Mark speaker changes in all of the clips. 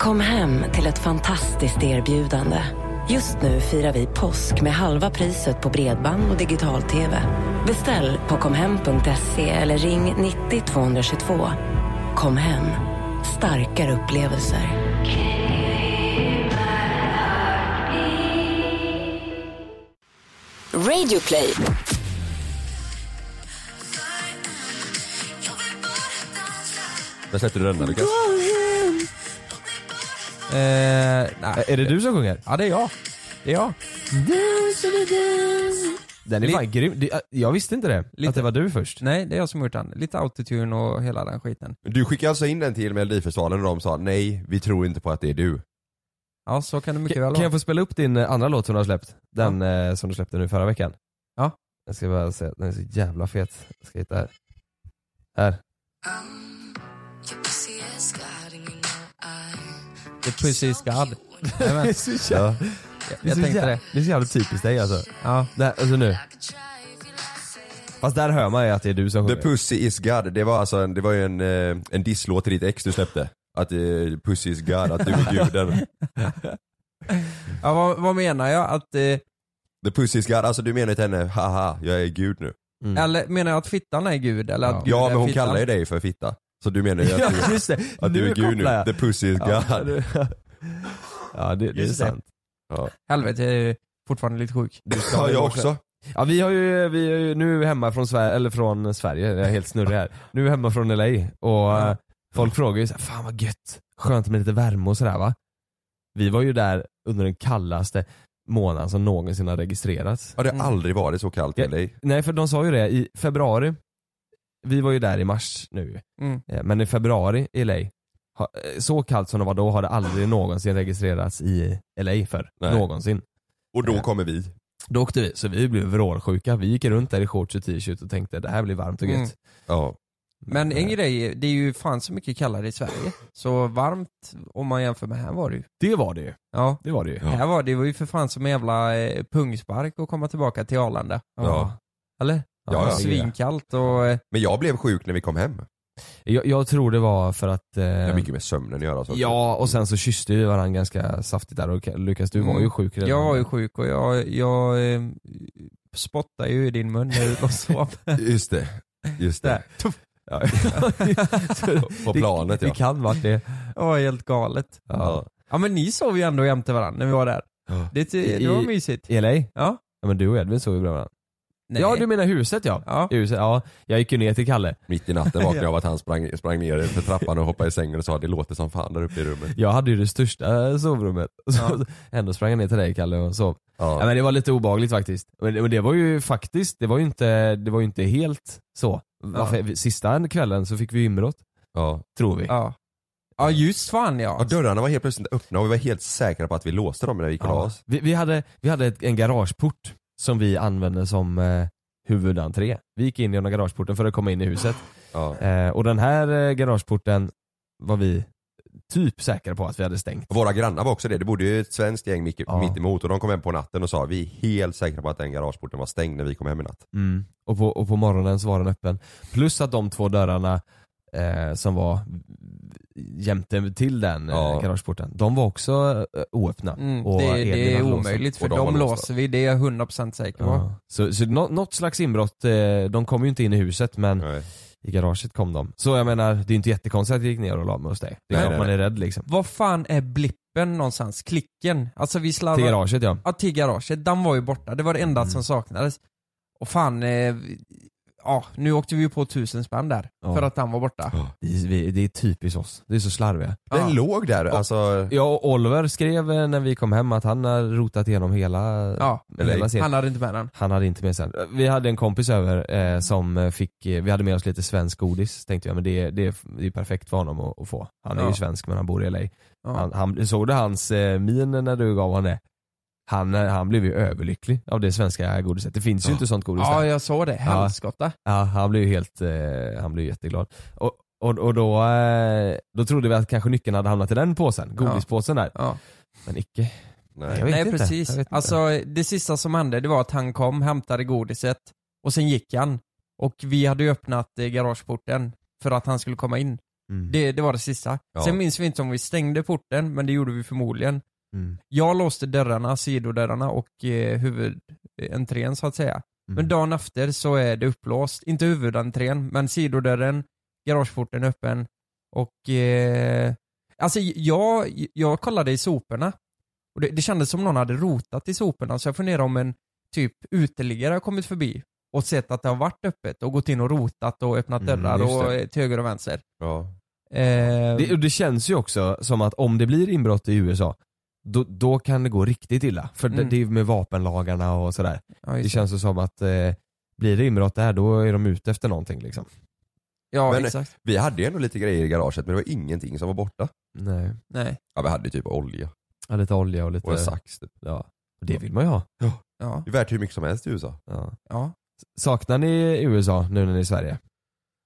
Speaker 1: Kom hem till ett fantastiskt erbjudande. Just nu firar vi påsk med halva priset på bredband och digital-tv. Beställ på komhem.se eller ring 90 222. Kom hem, starkare upplevelser.
Speaker 2: Radio play.
Speaker 3: Där släppte du den där Lukas.
Speaker 4: Eh, nej.
Speaker 5: Är det du som sjunger?
Speaker 4: Ja det är jag. Det är jag.
Speaker 5: Den är
Speaker 4: Li-
Speaker 5: fan grym. Det- Jag visste inte det.
Speaker 4: Lite-
Speaker 5: Att det var du först.
Speaker 4: Nej det är jag som gjort den. Lite autotune och hela den skiten.
Speaker 3: Du skickade alltså in den till Melodifestivalen och de sa nej, vi tror inte på att det är du.
Speaker 4: Ja så kan det mycket väl
Speaker 5: Kan,
Speaker 4: vara.
Speaker 5: kan jag få spela upp din eh, andra låt som du har släppt? Den eh, som du släppte nu förra veckan.
Speaker 4: Ja.
Speaker 5: Jag ska bara se, den är så jävla fet. Jag ska hitta här. Här.
Speaker 4: Det är precis God. Jajamän.
Speaker 5: är så jävla,
Speaker 4: Jag tänkte det.
Speaker 5: är så jävla typiskt dig alltså.
Speaker 4: Ja.
Speaker 5: Det här, alltså nu. Fast där hör man ju att det är du som
Speaker 3: The
Speaker 5: sjunger.
Speaker 3: Pussy Is God, det var alltså en, det var ju en, eh, en disslåt till ditt ex du släppte. Att eh, Pussy Is God, att du är guden.
Speaker 4: ja vad, vad menar jag? Att,
Speaker 5: Mm.
Speaker 4: eh,
Speaker 3: The Pussy Is God, alltså du menar till henne, haha, jag är gud nu.
Speaker 5: Mm.
Speaker 4: Eller menar jag att fittan är gud? Eller att gud
Speaker 3: Ja
Speaker 4: är
Speaker 3: men hon
Speaker 4: fittan?
Speaker 3: kallar ju dig för fitta. Så du menar ju att
Speaker 5: Ja
Speaker 3: du,
Speaker 5: just det.
Speaker 3: att du är gud
Speaker 5: kopplar
Speaker 3: nu.
Speaker 5: jag.
Speaker 3: The Pussy Is
Speaker 5: Ja,
Speaker 3: God.
Speaker 5: du- ja det, det är
Speaker 4: Just det.
Speaker 5: sant.
Speaker 4: Helvete, jag är ju fortfarande lite sjuk.
Speaker 3: Ja jag också.
Speaker 5: Ja vi har ju, vi är ju nu hemma från Sverige, eller från Sverige, jag är helt snurrig här. Nu är hemma från LA och eh, folk frågar ju så här, fan vad gött, skönt med lite värme och sådär va. Vi var ju där under den kallaste månaden som någonsin har registrerats.
Speaker 3: Ja det har aldrig varit så kallt i
Speaker 5: Mm. Ja.
Speaker 3: LA.
Speaker 5: Nej för de sa ju det i februari, vi var ju där i mars nu,
Speaker 4: Mm.
Speaker 5: eh, men i februari i LA, ha- eh, så kallt som det var då har det aldrig någonsin registrerats i LA för
Speaker 3: Nej.
Speaker 5: Någonsin.
Speaker 3: Och då
Speaker 5: Ja.
Speaker 3: kommer vi.
Speaker 5: Då åkte vi, så vi blev vrålsjuka. Vi gick runt där i shorts och t-shirt och tänkte det här blir varmt och gött.
Speaker 4: Mm.
Speaker 3: Ja.
Speaker 4: Men en
Speaker 5: Eh,
Speaker 4: grej, det är ju fan så mycket kallare i Sverige. Så varmt om man jämför med här var det ju.
Speaker 5: Det var det ju.
Speaker 4: Ja.
Speaker 5: Det var det ju.
Speaker 4: Här var det, det var ju för fan som en jävla eh, pungspark att komma tillbaka till Arlanda.
Speaker 3: Ja.
Speaker 4: Eller?
Speaker 3: Ja, ja.
Speaker 4: Svinkallt och... eh,
Speaker 3: Men jag blev sjuk när vi kom hem.
Speaker 5: Jag, jag tror det var för att... Eh,
Speaker 3: Det har mycket med sömnen att göra. och sånt.
Speaker 5: ja, och sen så kysste vi varandra ganska saftigt där och Lukas du var
Speaker 4: Mm.
Speaker 5: ju sjuk redan.
Speaker 4: Jag var ju sjuk och jag, jag eh, spottade ju i din mun när du låg och sov.
Speaker 3: Just det. Just det.
Speaker 4: Där.
Speaker 5: Ja.
Speaker 3: På planet
Speaker 5: det,
Speaker 3: ja.
Speaker 5: det kan vara det.
Speaker 4: Det var helt galet.
Speaker 5: Ja.
Speaker 4: Ja men ni sov ju ändå jämte varandra när vi var där.
Speaker 3: Ja.
Speaker 4: Det, det var
Speaker 5: I-
Speaker 4: mysigt.
Speaker 5: I LA? Ja.
Speaker 4: Ja.
Speaker 5: men du och Edvin sov ju bredvid varandra.
Speaker 4: Nej.
Speaker 5: Ja du menar huset ja.
Speaker 4: Ja.
Speaker 5: Huset, ja. Jag gick ju ner till Kalle.
Speaker 3: Mitt i natten vaknade jag av att han sprang, sprang ner för trappan och hoppade i sängen och sa det låter som fan där uppe i rummet.
Speaker 5: Jag hade ju det största eh, sovrummet. Så, ändå sprang jag ner till dig Kalle och sov. Ja,
Speaker 3: Ja.
Speaker 5: men det var lite obagligt faktiskt. Men det, men det var ju faktiskt, det var ju inte, det var ju inte helt så. Varför, vi- Sista kvällen så fick vi inbrott,
Speaker 3: Ja.
Speaker 5: tror vi.
Speaker 4: Ja. Ja just fan ja.
Speaker 3: Ja, dörrarna var helt plötsligt öppna och vi var helt säkra på att vi låste dem när vi gick och la
Speaker 5: Ja.
Speaker 3: oss.
Speaker 5: Vi, vi hade, vi hade ett, en garageport som vi använde som eh, huvudentré. Vi gick in genom garageporten för att komma in i huset.
Speaker 3: Ja.
Speaker 5: Eh, och den här eh, garageporten var vi typ säkra på att vi hade stängt.
Speaker 3: Våra grannar var också det. Det bodde ju ett svenskt gäng mitt,
Speaker 5: Ja.
Speaker 3: mitt emot och de kom hem på natten och sa vi är helt säkra på att den garageporten var stängd när vi kom hem i natt.
Speaker 5: Mm. Och, på, och på morgonen så var den öppen. Plus att de två dörrarna eh, som var jämte till den
Speaker 3: Ja.
Speaker 5: eh, garageporten, de var också eh, oöppna.
Speaker 4: Mm,
Speaker 5: Och
Speaker 4: det, det
Speaker 5: Edvin
Speaker 4: är
Speaker 5: hade låst
Speaker 4: omöjligt
Speaker 3: och
Speaker 4: för
Speaker 3: de har
Speaker 4: de
Speaker 3: låst
Speaker 4: låser vi, det är jag 100% säker på.
Speaker 5: dem. Ja. Så, så nå, något slags inbrott, eh, de kom ju inte in i huset men
Speaker 3: Nej.
Speaker 5: i garaget kom de. Så jag menar, det är inte jättekonstigt att jag gick ner och la mig hos dig. Det är
Speaker 3: Nej,
Speaker 5: klart
Speaker 3: nej,
Speaker 5: man är rädd liksom.
Speaker 4: Vad fan är blippen någonstans? Klicken? Alltså vi
Speaker 5: Till
Speaker 4: slarvade...
Speaker 5: garaget ja.
Speaker 4: Ja till garaget, den var ju borta. Det var det enda
Speaker 5: Mm.
Speaker 4: som saknades. Och fan, eh, ja nu åkte vi ju på tusen spänn där.
Speaker 5: Ja.
Speaker 4: För att den var borta.
Speaker 5: Det är, vi, det är typiskt oss, det är så slarviga.
Speaker 3: Den
Speaker 4: Ja.
Speaker 3: låg där, alltså.
Speaker 5: Jag och Oliver skrev eh, när vi kom hem att han har rotat igenom hela,
Speaker 4: Ja,
Speaker 5: hela serien.
Speaker 4: han hade inte med den.
Speaker 5: Han hade inte med sig den. Vi hade en kompis över eh, som eh, fick, eh, vi hade med oss lite svensk godis tänkte jag men det, det, är- det är perfekt för honom att, att få. Han är
Speaker 4: Ja.
Speaker 5: ju svensk men han bor i LA.
Speaker 4: Ja.
Speaker 5: Han, han, såg du hans eh, min när du gav honom det? Han, eh, han blev ju överlycklig av det svenska godiset. Det finns ju inte sånt godis
Speaker 4: Ja
Speaker 5: där.
Speaker 4: jag såg det, helskotta.
Speaker 5: Ja, han blev ju helt, eh, han blev jätteglad. Och, och, och då, eh, då trodde vi att kanske nyckeln hade hamnat i den påsen, godispåsen där.
Speaker 4: Ja.
Speaker 5: Men icke. Jag
Speaker 3: Nej.
Speaker 5: vet
Speaker 4: Nej
Speaker 5: inte.
Speaker 4: precis.
Speaker 5: Jag vet inte.
Speaker 4: Alltså det sista som hände det var att han kom, hämtade godiset och sen gick han. Och vi hade ju öppnat eh, garageporten för att han skulle komma in.
Speaker 5: Mm.
Speaker 4: Det, det var det sista.
Speaker 3: Ja.
Speaker 4: Sen minns vi inte om vi stängde porten, men det gjorde vi förmodligen.
Speaker 5: Mm.
Speaker 4: Jag låste dörrarna, sidodörrarna och eh, huvudentrén så att säga.
Speaker 5: Mm.
Speaker 4: Men dagen efter så är det upplåst. Inte huvudentrén, men sidodörren, garageporten är öppen och... Eh, alltså jag, jag kollade i soporna. Och det, det kändes som någon hade rotat i soporna så jag funderar om en typ uteliggare har kommit förbi och sett att det har varit öppet och gått in och rotat och öppnat
Speaker 5: Mm,
Speaker 4: dörrar
Speaker 5: just
Speaker 4: och
Speaker 5: det.
Speaker 4: eh, till höger och vänster.
Speaker 3: Ja.
Speaker 4: Eh,
Speaker 5: Det, och det känns ju också som att om det blir inbrott i USA, då, då kan det gå riktigt illa. För det,
Speaker 4: Mm.
Speaker 5: det är ju med vapenlagarna och sådär.
Speaker 4: ja,
Speaker 5: Det
Speaker 4: just
Speaker 5: känns ju som att eh, blir det inbrott där, då är de ute efter någonting liksom.
Speaker 4: ja
Speaker 3: Men-
Speaker 4: exakt.
Speaker 3: Vi hade ju ändå lite grejer i garaget men det var ingenting som var borta.
Speaker 5: Nej.
Speaker 4: Nej.
Speaker 3: Ja vi hade typ olja
Speaker 5: Ja, lite olja och lite...
Speaker 3: och en sax typ.
Speaker 5: Ja. Och det vill man ju ha.
Speaker 4: Ja.
Speaker 3: Det är värt hur mycket som helst i USA.
Speaker 5: Ja.
Speaker 4: ja.
Speaker 5: Saknar ni USA nu när ni är i Sverige?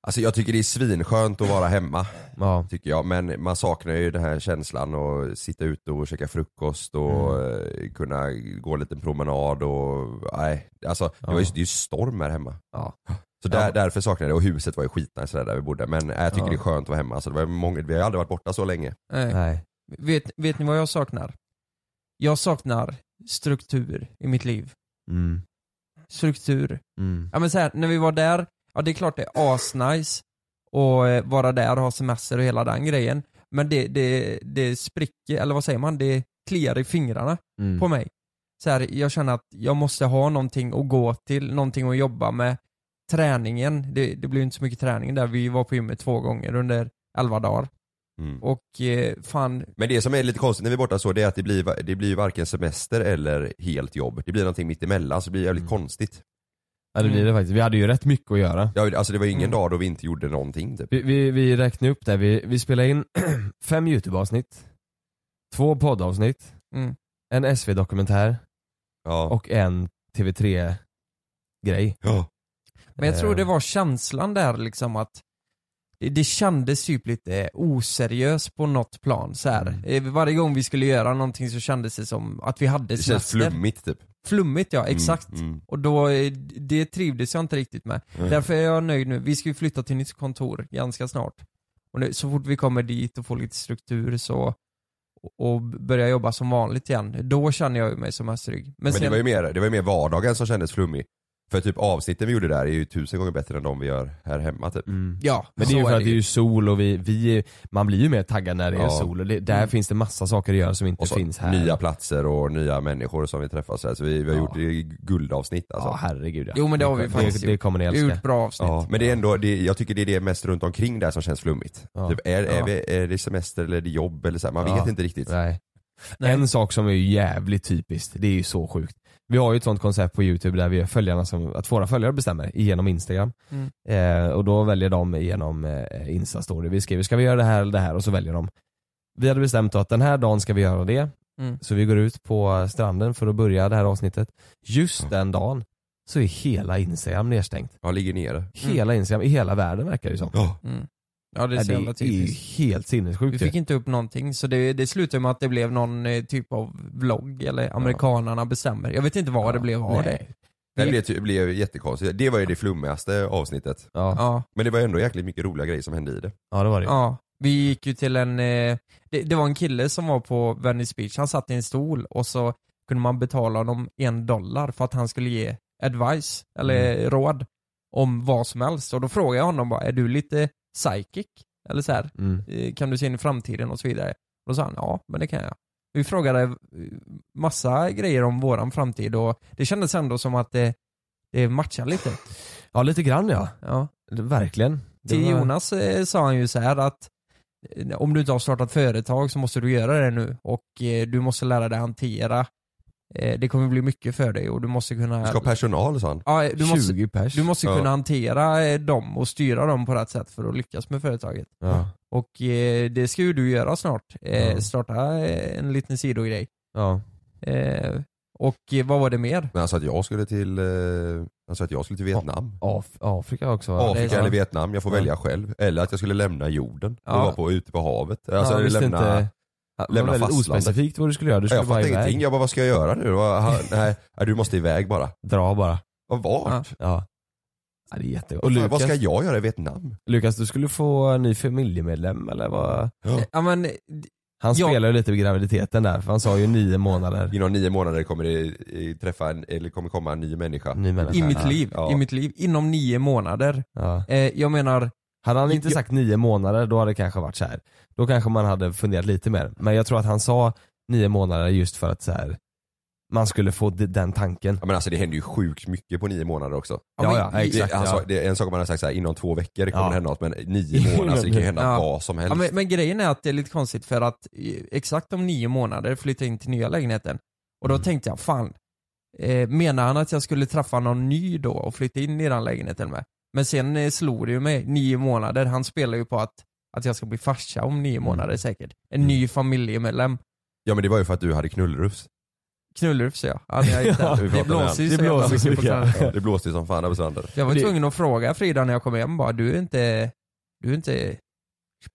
Speaker 3: Alltså jag tycker det är svinskönt att vara hemma.
Speaker 5: Ja.
Speaker 3: tycker jag. Men man saknar ju den här känslan och sitta ute och käka frukost och
Speaker 5: Mm.
Speaker 3: eh, kunna gå en liten promenad och nej. Alltså det, var ju,
Speaker 5: Ja.
Speaker 3: det är ju storm här hemma.
Speaker 5: Ja.
Speaker 3: Så där,
Speaker 5: Ja.
Speaker 3: därför saknar jag det och huset var ju skitnice där, där vi bodde. Men eh, jag tycker
Speaker 5: Ja.
Speaker 3: det är skönt att vara hemma. Alltså, det var ju många, vi har aldrig varit borta så länge.
Speaker 4: Nej.
Speaker 5: Nej.
Speaker 4: Eh, Vet, vet ni vad jag saknar? Jag saknar struktur i mitt liv.
Speaker 5: Mm.
Speaker 4: Struktur.
Speaker 5: Mm.
Speaker 4: Ja men så här, när vi var där, ja det är klart det är asnice och eh, vara där och ha semester och hela den grejen. Men det, det, det spricker, eller vad säger man, det kliar i fingrarna
Speaker 5: Mm.
Speaker 4: på mig. Så här, jag känner att jag måste ha någonting att gå till, någonting att jobba med. Träningen, det, det blev inte så mycket träning där, vi var på gymmet två gånger under 11 dagar. Och eh, fan,
Speaker 3: Mm. Men det som är lite konstigt när vi är borta så det är att det blir, va- det blir varken semester eller helt jobb. Det blir någonting mitt emellan så det blir jävligt
Speaker 5: Mm.
Speaker 3: konstigt.
Speaker 5: Ja det blir det faktiskt. Vi hade ju rätt mycket att göra.
Speaker 3: Det, har ju- alltså det var ju ingen
Speaker 4: Mm.
Speaker 3: dag då vi inte gjorde någonting typ.
Speaker 5: Vi, vi, vi räknade upp det. Vi, vi spelade in fem YouTube-avsnitt, två poddavsnitt,
Speaker 4: Mm.
Speaker 5: en SV-dokumentär
Speaker 3: Ja.
Speaker 5: och en TV3-grej.
Speaker 3: Ja.
Speaker 4: Men jag tror det
Speaker 5: Eh.
Speaker 4: var känslan där liksom att det, det kändes typ lite oseriöst på något plan så här.
Speaker 5: Mm.
Speaker 4: Eh, Varje gång vi skulle göra någonting så kändes det som att vi hade
Speaker 3: Det känns
Speaker 4: semester.
Speaker 3: flummigt typ.
Speaker 4: Flummigt ja, exakt.
Speaker 3: Mm, mm.
Speaker 4: Och då, eh, det trivdes jag inte riktigt med.
Speaker 3: Mm.
Speaker 4: Därför är jag nöjd nu. Vi ska ju flytta till nytt kontor ganska snart. Och nu, så fort vi kommer dit och får lite struktur så och och börjar jobba som vanligt igen, då känner jag ju mig som mest trygg. Men,
Speaker 3: Men,
Speaker 4: sen,
Speaker 3: det, var ju mer, det var ju mer vardagen som kändes flummig. För typ avsnitten vi gjorde där är ju tusen gånger bättre än de vi gör här hemma typ.
Speaker 5: Mm.
Speaker 4: ja,
Speaker 5: Men det är ju
Speaker 4: så
Speaker 5: för att det är ju sol och vi, vi man blir ju mer taggad när det är
Speaker 3: Ja.
Speaker 5: sol och det, där
Speaker 4: Mm.
Speaker 5: finns det massa saker att göra som inte
Speaker 3: Och så
Speaker 5: finns här.
Speaker 3: nya platser och nya människor som vi träffas här. Så vi, vi har
Speaker 5: Ja.
Speaker 3: gjort det guldavsnitt alltså.
Speaker 5: Ja herregud ja.
Speaker 4: Jo, men det har vi
Speaker 5: det,
Speaker 4: faktiskt
Speaker 5: det, det kommer ni
Speaker 4: Vi har
Speaker 5: älska.
Speaker 4: gjort bra avsnitt.
Speaker 3: Ja, men det är ändå, det, jag tycker det är det mest runt omkring där som känns flummigt.
Speaker 5: Ja.
Speaker 3: Typ, är, är,
Speaker 4: Ja.
Speaker 3: vi, är det semester eller är det jobb eller så här, man
Speaker 5: Ja.
Speaker 3: vet inte riktigt.
Speaker 5: Nej.
Speaker 4: Nej.
Speaker 5: En sak som är ju jävligt typiskt, det är ju så sjukt. Vi har ju ett sånt koncept på youtube där vi gör följarna som, att våra följare bestämmer genom instagram.
Speaker 4: Mm.
Speaker 5: Eh, och då väljer de genom eh, instastory. Vi skriver, ska vi göra det här eller det här? Och så väljer de. Vi hade bestämt att den här dagen ska vi göra det.
Speaker 4: Mm.
Speaker 5: Så vi går ut på stranden för att börja det här avsnittet. Just
Speaker 4: Mm.
Speaker 3: Ja.
Speaker 5: den dagen så är hela instagram nedstängt.
Speaker 3: Ja, ligger nere.
Speaker 5: Hela instagram, i hela världen verkar det ju som.
Speaker 3: Ja.
Speaker 4: Mm. Ja Mm. det
Speaker 5: Det
Speaker 4: är så jävla
Speaker 5: är ju
Speaker 4: typiskt.
Speaker 5: helt
Speaker 4: Vi
Speaker 5: sinnessjukt ju.
Speaker 4: fick inte upp någonting så det, det slutade med att det blev någon eh, typ av vlogg eller amerikanarna bestämmer. Jag vet inte vad det blev av
Speaker 5: Nej.
Speaker 4: det.
Speaker 3: Det blev, ty- blev jättekonstigt. Det var ju det flummigaste avsnittet.
Speaker 5: Ja.
Speaker 4: Ja,
Speaker 3: Men det var ändå jäkligt mycket roliga grejer som hände i det.
Speaker 5: ja det var det ju.
Speaker 4: ja. Vi gick ju till en, eh, det, det var en kille som var på Venice Beach, han satt i en stol och så kunde man betala honom en dollar för att han skulle ge advice, eller
Speaker 5: Mm.
Speaker 4: råd, om vad som helst. Och då frågade jag honom bara, är du lite psychic? Eller så här,
Speaker 5: Mm.
Speaker 4: Eh, kan du se in i framtiden och så vidare? Då sa han, ja men det kan jag. Vi frågade eh, massa grejer om våran framtid och det kändes ändå som att det, det matchar lite.
Speaker 5: Ja lite grann ja.
Speaker 4: Ja.
Speaker 5: Verkligen. Det
Speaker 4: Till
Speaker 5: var-
Speaker 4: Jonas eh, sa han ju så här att eh, om du inte har startat företag så måste du göra det nu och eh, du måste lära dig hantera. Eh, Det kommer bli mycket för dig och du måste kunna...
Speaker 3: Du ska ha personal sa han.
Speaker 4: ja, eh, du måste,
Speaker 5: 20 pers.
Speaker 4: du måste
Speaker 3: Ja.
Speaker 4: kunna hantera eh, dem och styra dem på rätt sätt för att lyckas med företaget.
Speaker 5: Ja.
Speaker 4: Och eh, det ska ju du göra snart. Eh,
Speaker 5: Ja.
Speaker 4: Starta eh, en liten sidogrej.
Speaker 5: Ja.
Speaker 4: Eh, och eh, vad var det mer?
Speaker 3: Men han sa att jag skulle till, eh, han sa att jag skulle till Vietnam.
Speaker 5: Af Afrika också va?
Speaker 4: det är
Speaker 3: Afrika
Speaker 4: sant.
Speaker 3: eller Vietnam, jag får
Speaker 5: Ja.
Speaker 3: välja själv. Eller att jag skulle lämna jorden och
Speaker 4: Ja.
Speaker 3: vara på, ute på havet.
Speaker 5: Ja,
Speaker 3: Alltså,
Speaker 5: han visste
Speaker 3: lämna,
Speaker 5: inte. Ja, Det var
Speaker 3: lämna
Speaker 5: väldigt
Speaker 3: fastlandet.
Speaker 5: ospecifikt vad du skulle göra. Du skulle
Speaker 3: jag
Speaker 5: bara
Speaker 3: fattade
Speaker 5: iväg.
Speaker 3: ingenting, jag bara vad ska jag göra nu? Det var- han- Nej, nej, du måste iväg bara.
Speaker 5: Dra bara.
Speaker 3: Och vart?
Speaker 5: Ja. Ja, det är jättegott. Och Lukas,
Speaker 3: Vad ska jag göra i Vietnam?
Speaker 5: Lukas, du skulle få en ny familjemedlem eller vad?
Speaker 4: Ja men,
Speaker 5: Han
Speaker 4: Ja.
Speaker 5: spelar ju lite med graviditeten där, för han sa ju nio månader.
Speaker 3: Inom nio månader kommer det eh, träffa en, eller kommer komma en ny människa.
Speaker 5: Ny människa.
Speaker 4: i mitt
Speaker 5: Ja.
Speaker 4: liv.
Speaker 3: Ja.
Speaker 4: I mitt liv. Inom nio månader.
Speaker 5: Ja.
Speaker 4: Eh, jag menar,
Speaker 5: Hade han inte
Speaker 4: Jag-
Speaker 5: sagt nio månader, då hade det kanske varit så här. Då kanske man hade funderat lite mer. Men jag tror att han sa nio månader just för att så här, man skulle få d- den tanken.
Speaker 3: Ja, men alltså det händer ju sjukt mycket på nio månader också.
Speaker 5: Ja,
Speaker 4: men-
Speaker 5: ja,
Speaker 4: i-
Speaker 5: exakt.
Speaker 3: Det, han sa-
Speaker 5: ja.
Speaker 3: det är en sak om man har sagt så här, inom två veckor kommer
Speaker 5: Ja.
Speaker 3: det hända något, men nio månader, så det kan ju hända
Speaker 4: Ja.
Speaker 3: vad som helst.
Speaker 4: Ja, men, men grejen är att det är lite konstigt för att eh, exakt om nio månader flyttar jag in till nya lägenheten. Och då tänkte jag, fan, eh, menar han att jag skulle träffa någon ny då och flytta in i den lägenheten med? Men sen eh, slog det ju mig, nio månader, han spelar ju på att, att jag ska bli farsa om nio månader säkert. En ny familjemedlem.
Speaker 3: Ja men det var ju för att du hade knullrufs.
Speaker 4: Knullrufs ja, hade jag
Speaker 5: Ja,
Speaker 4: inte.
Speaker 3: vi pratar
Speaker 4: det
Speaker 3: om
Speaker 4: blåser ju
Speaker 5: det.
Speaker 4: så
Speaker 5: Det
Speaker 4: jävla
Speaker 5: blåser
Speaker 4: mycket på
Speaker 5: mycket.
Speaker 4: Strand.
Speaker 3: Ja. Det blåste ju som fan över stranden.
Speaker 4: Jag var
Speaker 5: Det-
Speaker 4: tvungen att fråga Frida när jag kom hem bara, du är inte, du är inte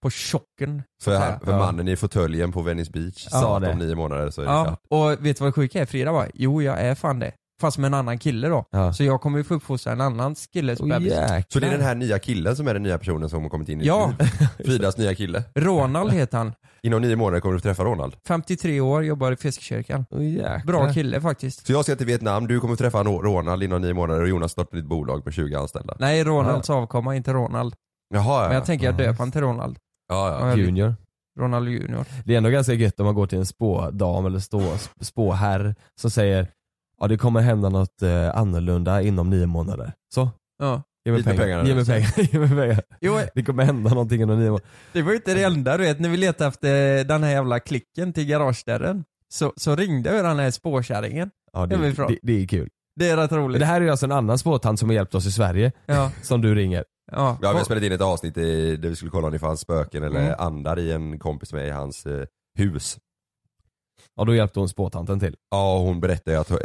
Speaker 4: på chocken.
Speaker 3: För,
Speaker 4: så att säga.
Speaker 3: han, för
Speaker 5: Ja.
Speaker 3: mannen i fåtöljen på Venice Beach
Speaker 5: Ja.
Speaker 3: sa att
Speaker 5: det.
Speaker 3: om nio månader så är det
Speaker 4: Ja,
Speaker 3: klart.
Speaker 4: och vet du vad det sjuka är? Frida bara, jo jag är fan det. Fast med en annan kille då.
Speaker 5: Ja.
Speaker 4: Så jag kommer ju få uppfostra en annan killes
Speaker 5: Åh,
Speaker 4: bebis.
Speaker 5: jäklar.
Speaker 3: Så det är den här nya killen som är den nya personen som har kommit in i
Speaker 4: Ja.
Speaker 3: ditt liv. Fridas nya kille.
Speaker 4: Ronald heter han.
Speaker 3: Inom nio månader kommer du få träffa Ronald.
Speaker 4: 53 år, jobbar i Fiskkyrkan.
Speaker 5: Åh, jäklar.
Speaker 4: Bra kille faktiskt.
Speaker 3: Så jag ska till Vietnam, du kommer få träffa Ronald inom nio månader och Jonas startar ditt bolag med 20 anställda.
Speaker 4: Nej, Ronalds avkomma, inte Ronald.
Speaker 3: Jaha
Speaker 4: Men
Speaker 3: ja.
Speaker 4: jag tänker jag
Speaker 5: Ja.
Speaker 4: döper han till Ronald.
Speaker 3: ja, ja.
Speaker 4: Ja, jag-
Speaker 5: Junior.
Speaker 4: Ronald Junior.
Speaker 5: Det är ändå ganska gött om man går till en spådam eller stå, sp- spåherr som säger ja det kommer hända något eh, annorlunda inom nio månader. Så,
Speaker 4: Ja.
Speaker 5: ge mig
Speaker 3: Hit med
Speaker 5: pengar.
Speaker 3: pengarna nu.
Speaker 5: Ge mig pengar. ge mig pengar.
Speaker 4: Jo,
Speaker 3: Mm.
Speaker 5: Det kommer hända någonting inom nio månader.
Speaker 4: det var ju inte det enda du vet, när vi letade efter den här jävla klicken till garagedörren. Så, så ringde ju den här spåkärringen.
Speaker 5: Ja,
Speaker 4: Det är
Speaker 5: det,
Speaker 4: väl bra.
Speaker 5: det, det är kul.
Speaker 4: Det är rätt
Speaker 5: Men
Speaker 4: roligt.
Speaker 5: det här är ju alltså en annan spåtant som har hjälpt oss i Sverige
Speaker 4: Ja,
Speaker 5: som du ringer.
Speaker 4: ja.
Speaker 3: Ja, vi har spelat in ett avsnitt i, där vi skulle kolla om det fanns spöken eller
Speaker 4: Mm.
Speaker 3: andar i en kompis med i hans eh, hus.
Speaker 5: Ja då hjälpte hon spåtanten till.
Speaker 3: Ja, och hon berättade att eh,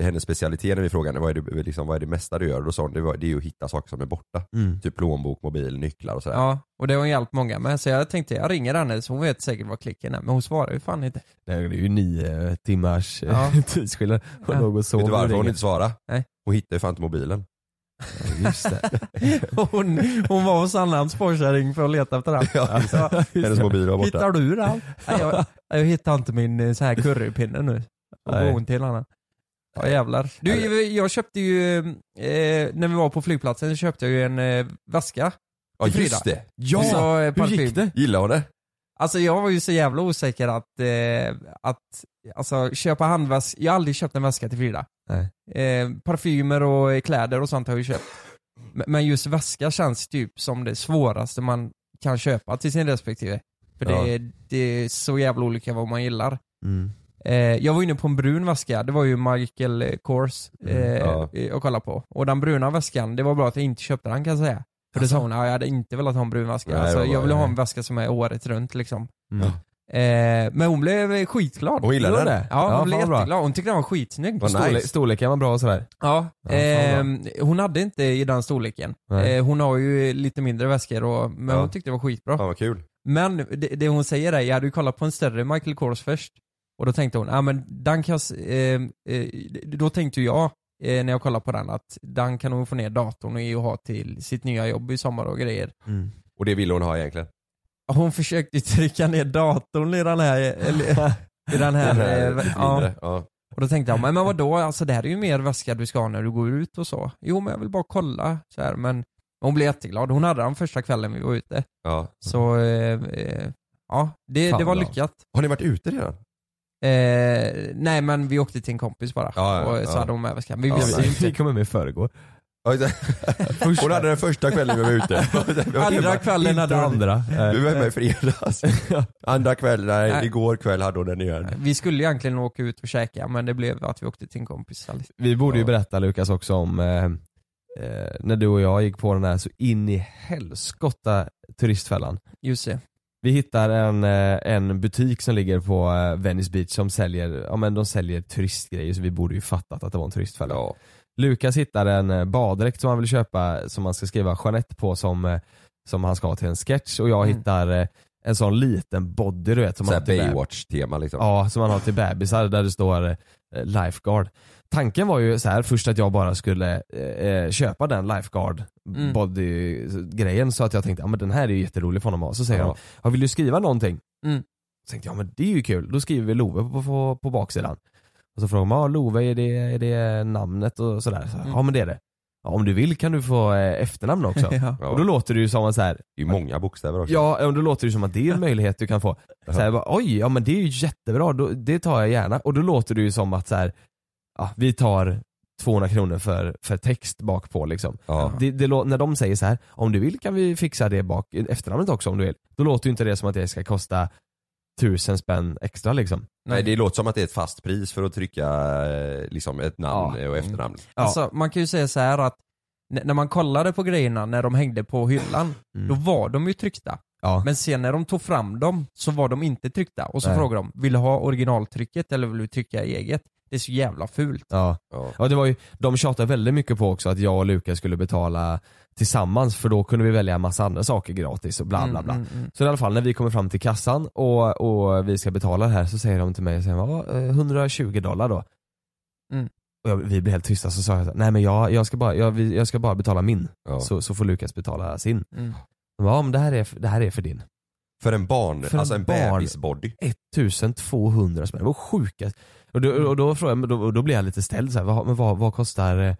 Speaker 3: hennes specialitet när vi frågade vad är, det, liksom, vad är det mesta du gör? Då sa hon det, var, det är ju att hitta saker som är borta. Typ plånbok, mobil, nycklar och sådär.
Speaker 4: Ja, och det har hon hjälpt många med. Så jag tänkte jag ringer henne så hon vet säkert vad klicken är. Men hon svarar ju fan inte.
Speaker 5: Det är ju nio timmars
Speaker 4: Ja.
Speaker 5: ja. tidsskillnad. Hon
Speaker 4: Ja.
Speaker 5: låg och sov.
Speaker 3: Vet du
Speaker 5: när du
Speaker 3: varför hon
Speaker 5: ringer.
Speaker 3: inte svarade?
Speaker 4: Nej.
Speaker 3: Hon hittade ju fan inte mobilen.
Speaker 5: Ja, Just det.
Speaker 4: Hon, hon var hos annan spårkärring för att leta efter den.
Speaker 3: Ja, just
Speaker 4: Ja,
Speaker 3: Hennes mobil var borta.
Speaker 4: Hittar du den? Nej, jag, jag hittar inte min eh, så här currypinne nu. Och går
Speaker 5: Nej.
Speaker 4: hon till henne. Ja jävlar. Du, jag köpte ju, eh, när vi var på flygplatsen så köpte jag ju en eh, väska.
Speaker 3: Ja
Speaker 4: Frida.
Speaker 3: just det.
Speaker 4: Och
Speaker 3: Så-
Speaker 4: så, eh, parfym.
Speaker 5: det?
Speaker 3: Gillar hon det?
Speaker 4: Alltså jag var ju så jävla osäker att, eh, att alltså, köpa handväska, jag har aldrig köpt en väska till Frida.
Speaker 5: Nej.
Speaker 4: Eh, parfymer och kläder och sånt har jag ju köpt. Men- Men just väska känns typ som det svåraste man kan köpa till sin respektive. För det, det är så jävla olika vad man gillar.
Speaker 5: Mm.
Speaker 4: Eh, jag var inne på en brun väska, det var ju Michael Kors eh,
Speaker 5: Mm,
Speaker 3: ja.
Speaker 4: jag kollade på. Och den bruna väskan, det var bra att jag inte köpte den kan jag säga. För det sa hon, "Ja, jag hade inte velat ha en brun väska.
Speaker 3: Alltså. Nej, det
Speaker 4: alltså,
Speaker 3: var bra,
Speaker 4: jag ville ha
Speaker 3: nej.
Speaker 4: en väska som är året runt liksom.
Speaker 5: Mm.
Speaker 4: Eh, men hon blev skitglad.
Speaker 3: Hon gillade
Speaker 5: Gillar
Speaker 3: den?
Speaker 5: det?
Speaker 4: Ja, hon
Speaker 5: fan
Speaker 4: blev
Speaker 5: bra.
Speaker 4: jätteglad. Hon tyckte den var skitsnygg.
Speaker 3: Vad
Speaker 5: Storle-
Speaker 3: nice.
Speaker 5: Storleken var bra och sådär.
Speaker 4: Ja,
Speaker 5: Ja,
Speaker 4: eh,
Speaker 5: fan
Speaker 4: hon hade inte i den storleken.
Speaker 5: Nej.
Speaker 4: Eh, hon har ju lite mindre väskor och, men
Speaker 3: Ja.
Speaker 4: hon tyckte det var skitbra.
Speaker 3: Fan vad kul.
Speaker 4: Men det, det hon säger är, jag hade ju kollat på en större Michael Kors först. Och då tänkte hon, ja ah, men den kan jag, s- eh, eh, då tänkte jag eh, när jag kollade på den att den kan hon få ner datorn och ge och ha till sitt nya jobb i sommar och grejer.
Speaker 3: Och det ville hon ha egentligen.
Speaker 4: Hon försökte ju trycka ner datorn i den här, eller, i den här,
Speaker 3: Den här
Speaker 4: eh, ja.
Speaker 3: mindre. Ja.
Speaker 4: Och då tänkte jag, men, men vadå, alltså det här är ju mer väska du ska ha när du går ut och så. Jo men jag vill bara kolla så här, men hon blev jätteglad. Hon hade den första kvällen vi var ute.
Speaker 3: Ja.
Speaker 4: Så eh,
Speaker 3: Mm.
Speaker 4: eh, ja, det,
Speaker 5: Fan
Speaker 4: det var
Speaker 5: bra.
Speaker 4: lyckat.
Speaker 3: Har ni varit ute redan?
Speaker 4: Eh, nej men vi åkte till en kompis bara.
Speaker 3: Ja, ja,
Speaker 4: och så
Speaker 3: ja.
Speaker 4: hade hon med väskan. Vi
Speaker 3: Ja,
Speaker 4: visste ju
Speaker 3: nej.
Speaker 4: inte.
Speaker 5: Vi kom med i förrgår.
Speaker 3: Ja, just det. Hon hade den första kvällen vi var ute. Vi var
Speaker 4: Andra
Speaker 3: hemma-
Speaker 4: kvällen hade
Speaker 5: Inte
Speaker 4: hon,
Speaker 5: andra. eh,
Speaker 3: Vi var hemma i fredags. Andra kvällen, nej,
Speaker 4: Nej.
Speaker 3: igår kväll hade hon den igen.
Speaker 4: Vi skulle egentligen åka ut och käka men det blev att vi åkte till en kompis istället.
Speaker 5: Vi borde ju
Speaker 3: Ja.
Speaker 5: berätta Lukas också om eh, eh, när du och jag gick på den här så in i helskotta turistfällan.
Speaker 4: Just det.
Speaker 5: Vi hittar en, eh, en butik som ligger på eh, Venice Beach som säljer, ja, men de säljer turistgrejer så vi borde ju fattat att det var en turistfälla.
Speaker 3: Ja.
Speaker 5: Lukas hittar en eh, baddräkt som han vill köpa som han ska skriva Jeanette på som, eh, som han ska ha till en sketch och jag
Speaker 4: Mm.
Speaker 5: hittar eh, en sån liten body du vet som
Speaker 3: Såhär
Speaker 5: man har till bä-
Speaker 3: Baywatch-tema liksom.
Speaker 5: Ja, som man har till bebisar där det står eh, lifeguard. tanken var ju så här först att jag bara skulle eh, eh, köpa den lifeguard
Speaker 4: Mm.
Speaker 5: body eh, grejen så att jag tänkte ja men den här är ju jätterolig för honom att ha. Så säger
Speaker 3: Ja.
Speaker 5: de, ja, vill du skriva någonting?
Speaker 4: Mm.
Speaker 5: Så tänkte jag, ja men det är ju kul, då skriver vi Love på, på, på baksidan. Och så frågar man, ja Love är det, är det namnet och sådär? Så, här,
Speaker 4: Mm.
Speaker 5: Ja men det är det. Ja, om du vill kan du få eh, efternamn också.
Speaker 4: Ja.
Speaker 3: Ja.
Speaker 5: Och då låter det ju som att så här,
Speaker 3: Det är ju många bokstäver också.
Speaker 5: Ja, ja, men då låter det som att det är en möjlighet du kan få. Så här, bara, Oj, ja men det är ju jättebra, då, det tar jag gärna. Och då låter det ju som att så här, ja, vi tar 200 kronor för, för text bak på liksom.
Speaker 3: Ja.
Speaker 5: Det, det, lå- när de säger så här, om du vill kan vi fixa det bak, efternamnet också om du vill. Då låter ju inte det som att det ska kosta tusen spänn extra liksom.
Speaker 3: Nej det låter som att det är ett fast pris för att trycka eh, liksom ett namn
Speaker 5: Ja.
Speaker 3: och efternamn.
Speaker 5: Ja.
Speaker 4: Alltså man kan ju säga så här att n- när man kollade på grejerna när de hängde på hyllan,
Speaker 5: Mm.
Speaker 4: då var de ju tryckta.
Speaker 5: Ja.
Speaker 4: Men sen när de tog fram dem så var de inte tryckta. Och så
Speaker 5: Nej.
Speaker 4: frågade de, vill du ha originaltrycket eller vill du trycka eget? Det är så jävla fult.
Speaker 5: Ja.
Speaker 3: Ja.
Speaker 5: ja, det var ju, de tjatade väldigt mycket på också att jag och Lukas skulle betala tillsammans för då kunde vi välja en massa andra saker gratis och bla bla bla.
Speaker 4: Mm, mm, mm.
Speaker 5: Så i alla fall när vi kommer fram till kassan och, och vi ska betala det här så säger de till mig, säger, "Ja, eh, 120 dollar då.
Speaker 4: Mm.
Speaker 5: Och jag, vi blev helt tysta så sa jag så här, nej men jag, jag, ska, bara, jag, vi- jag ska bara betala min.
Speaker 3: Ja.
Speaker 5: Så, så får Lukas betala sin.
Speaker 4: Mm.
Speaker 5: De bara, Ja men det här är, det här är för din.
Speaker 3: För en barn,
Speaker 5: För en
Speaker 3: alltså en
Speaker 5: barn.
Speaker 3: bebisbody.
Speaker 5: 1200 spänn, det var sjukast. Och då, och då, frågade jag, men då, och då blev jag lite ställd så här, vad, men vad, vad, kostar, eh,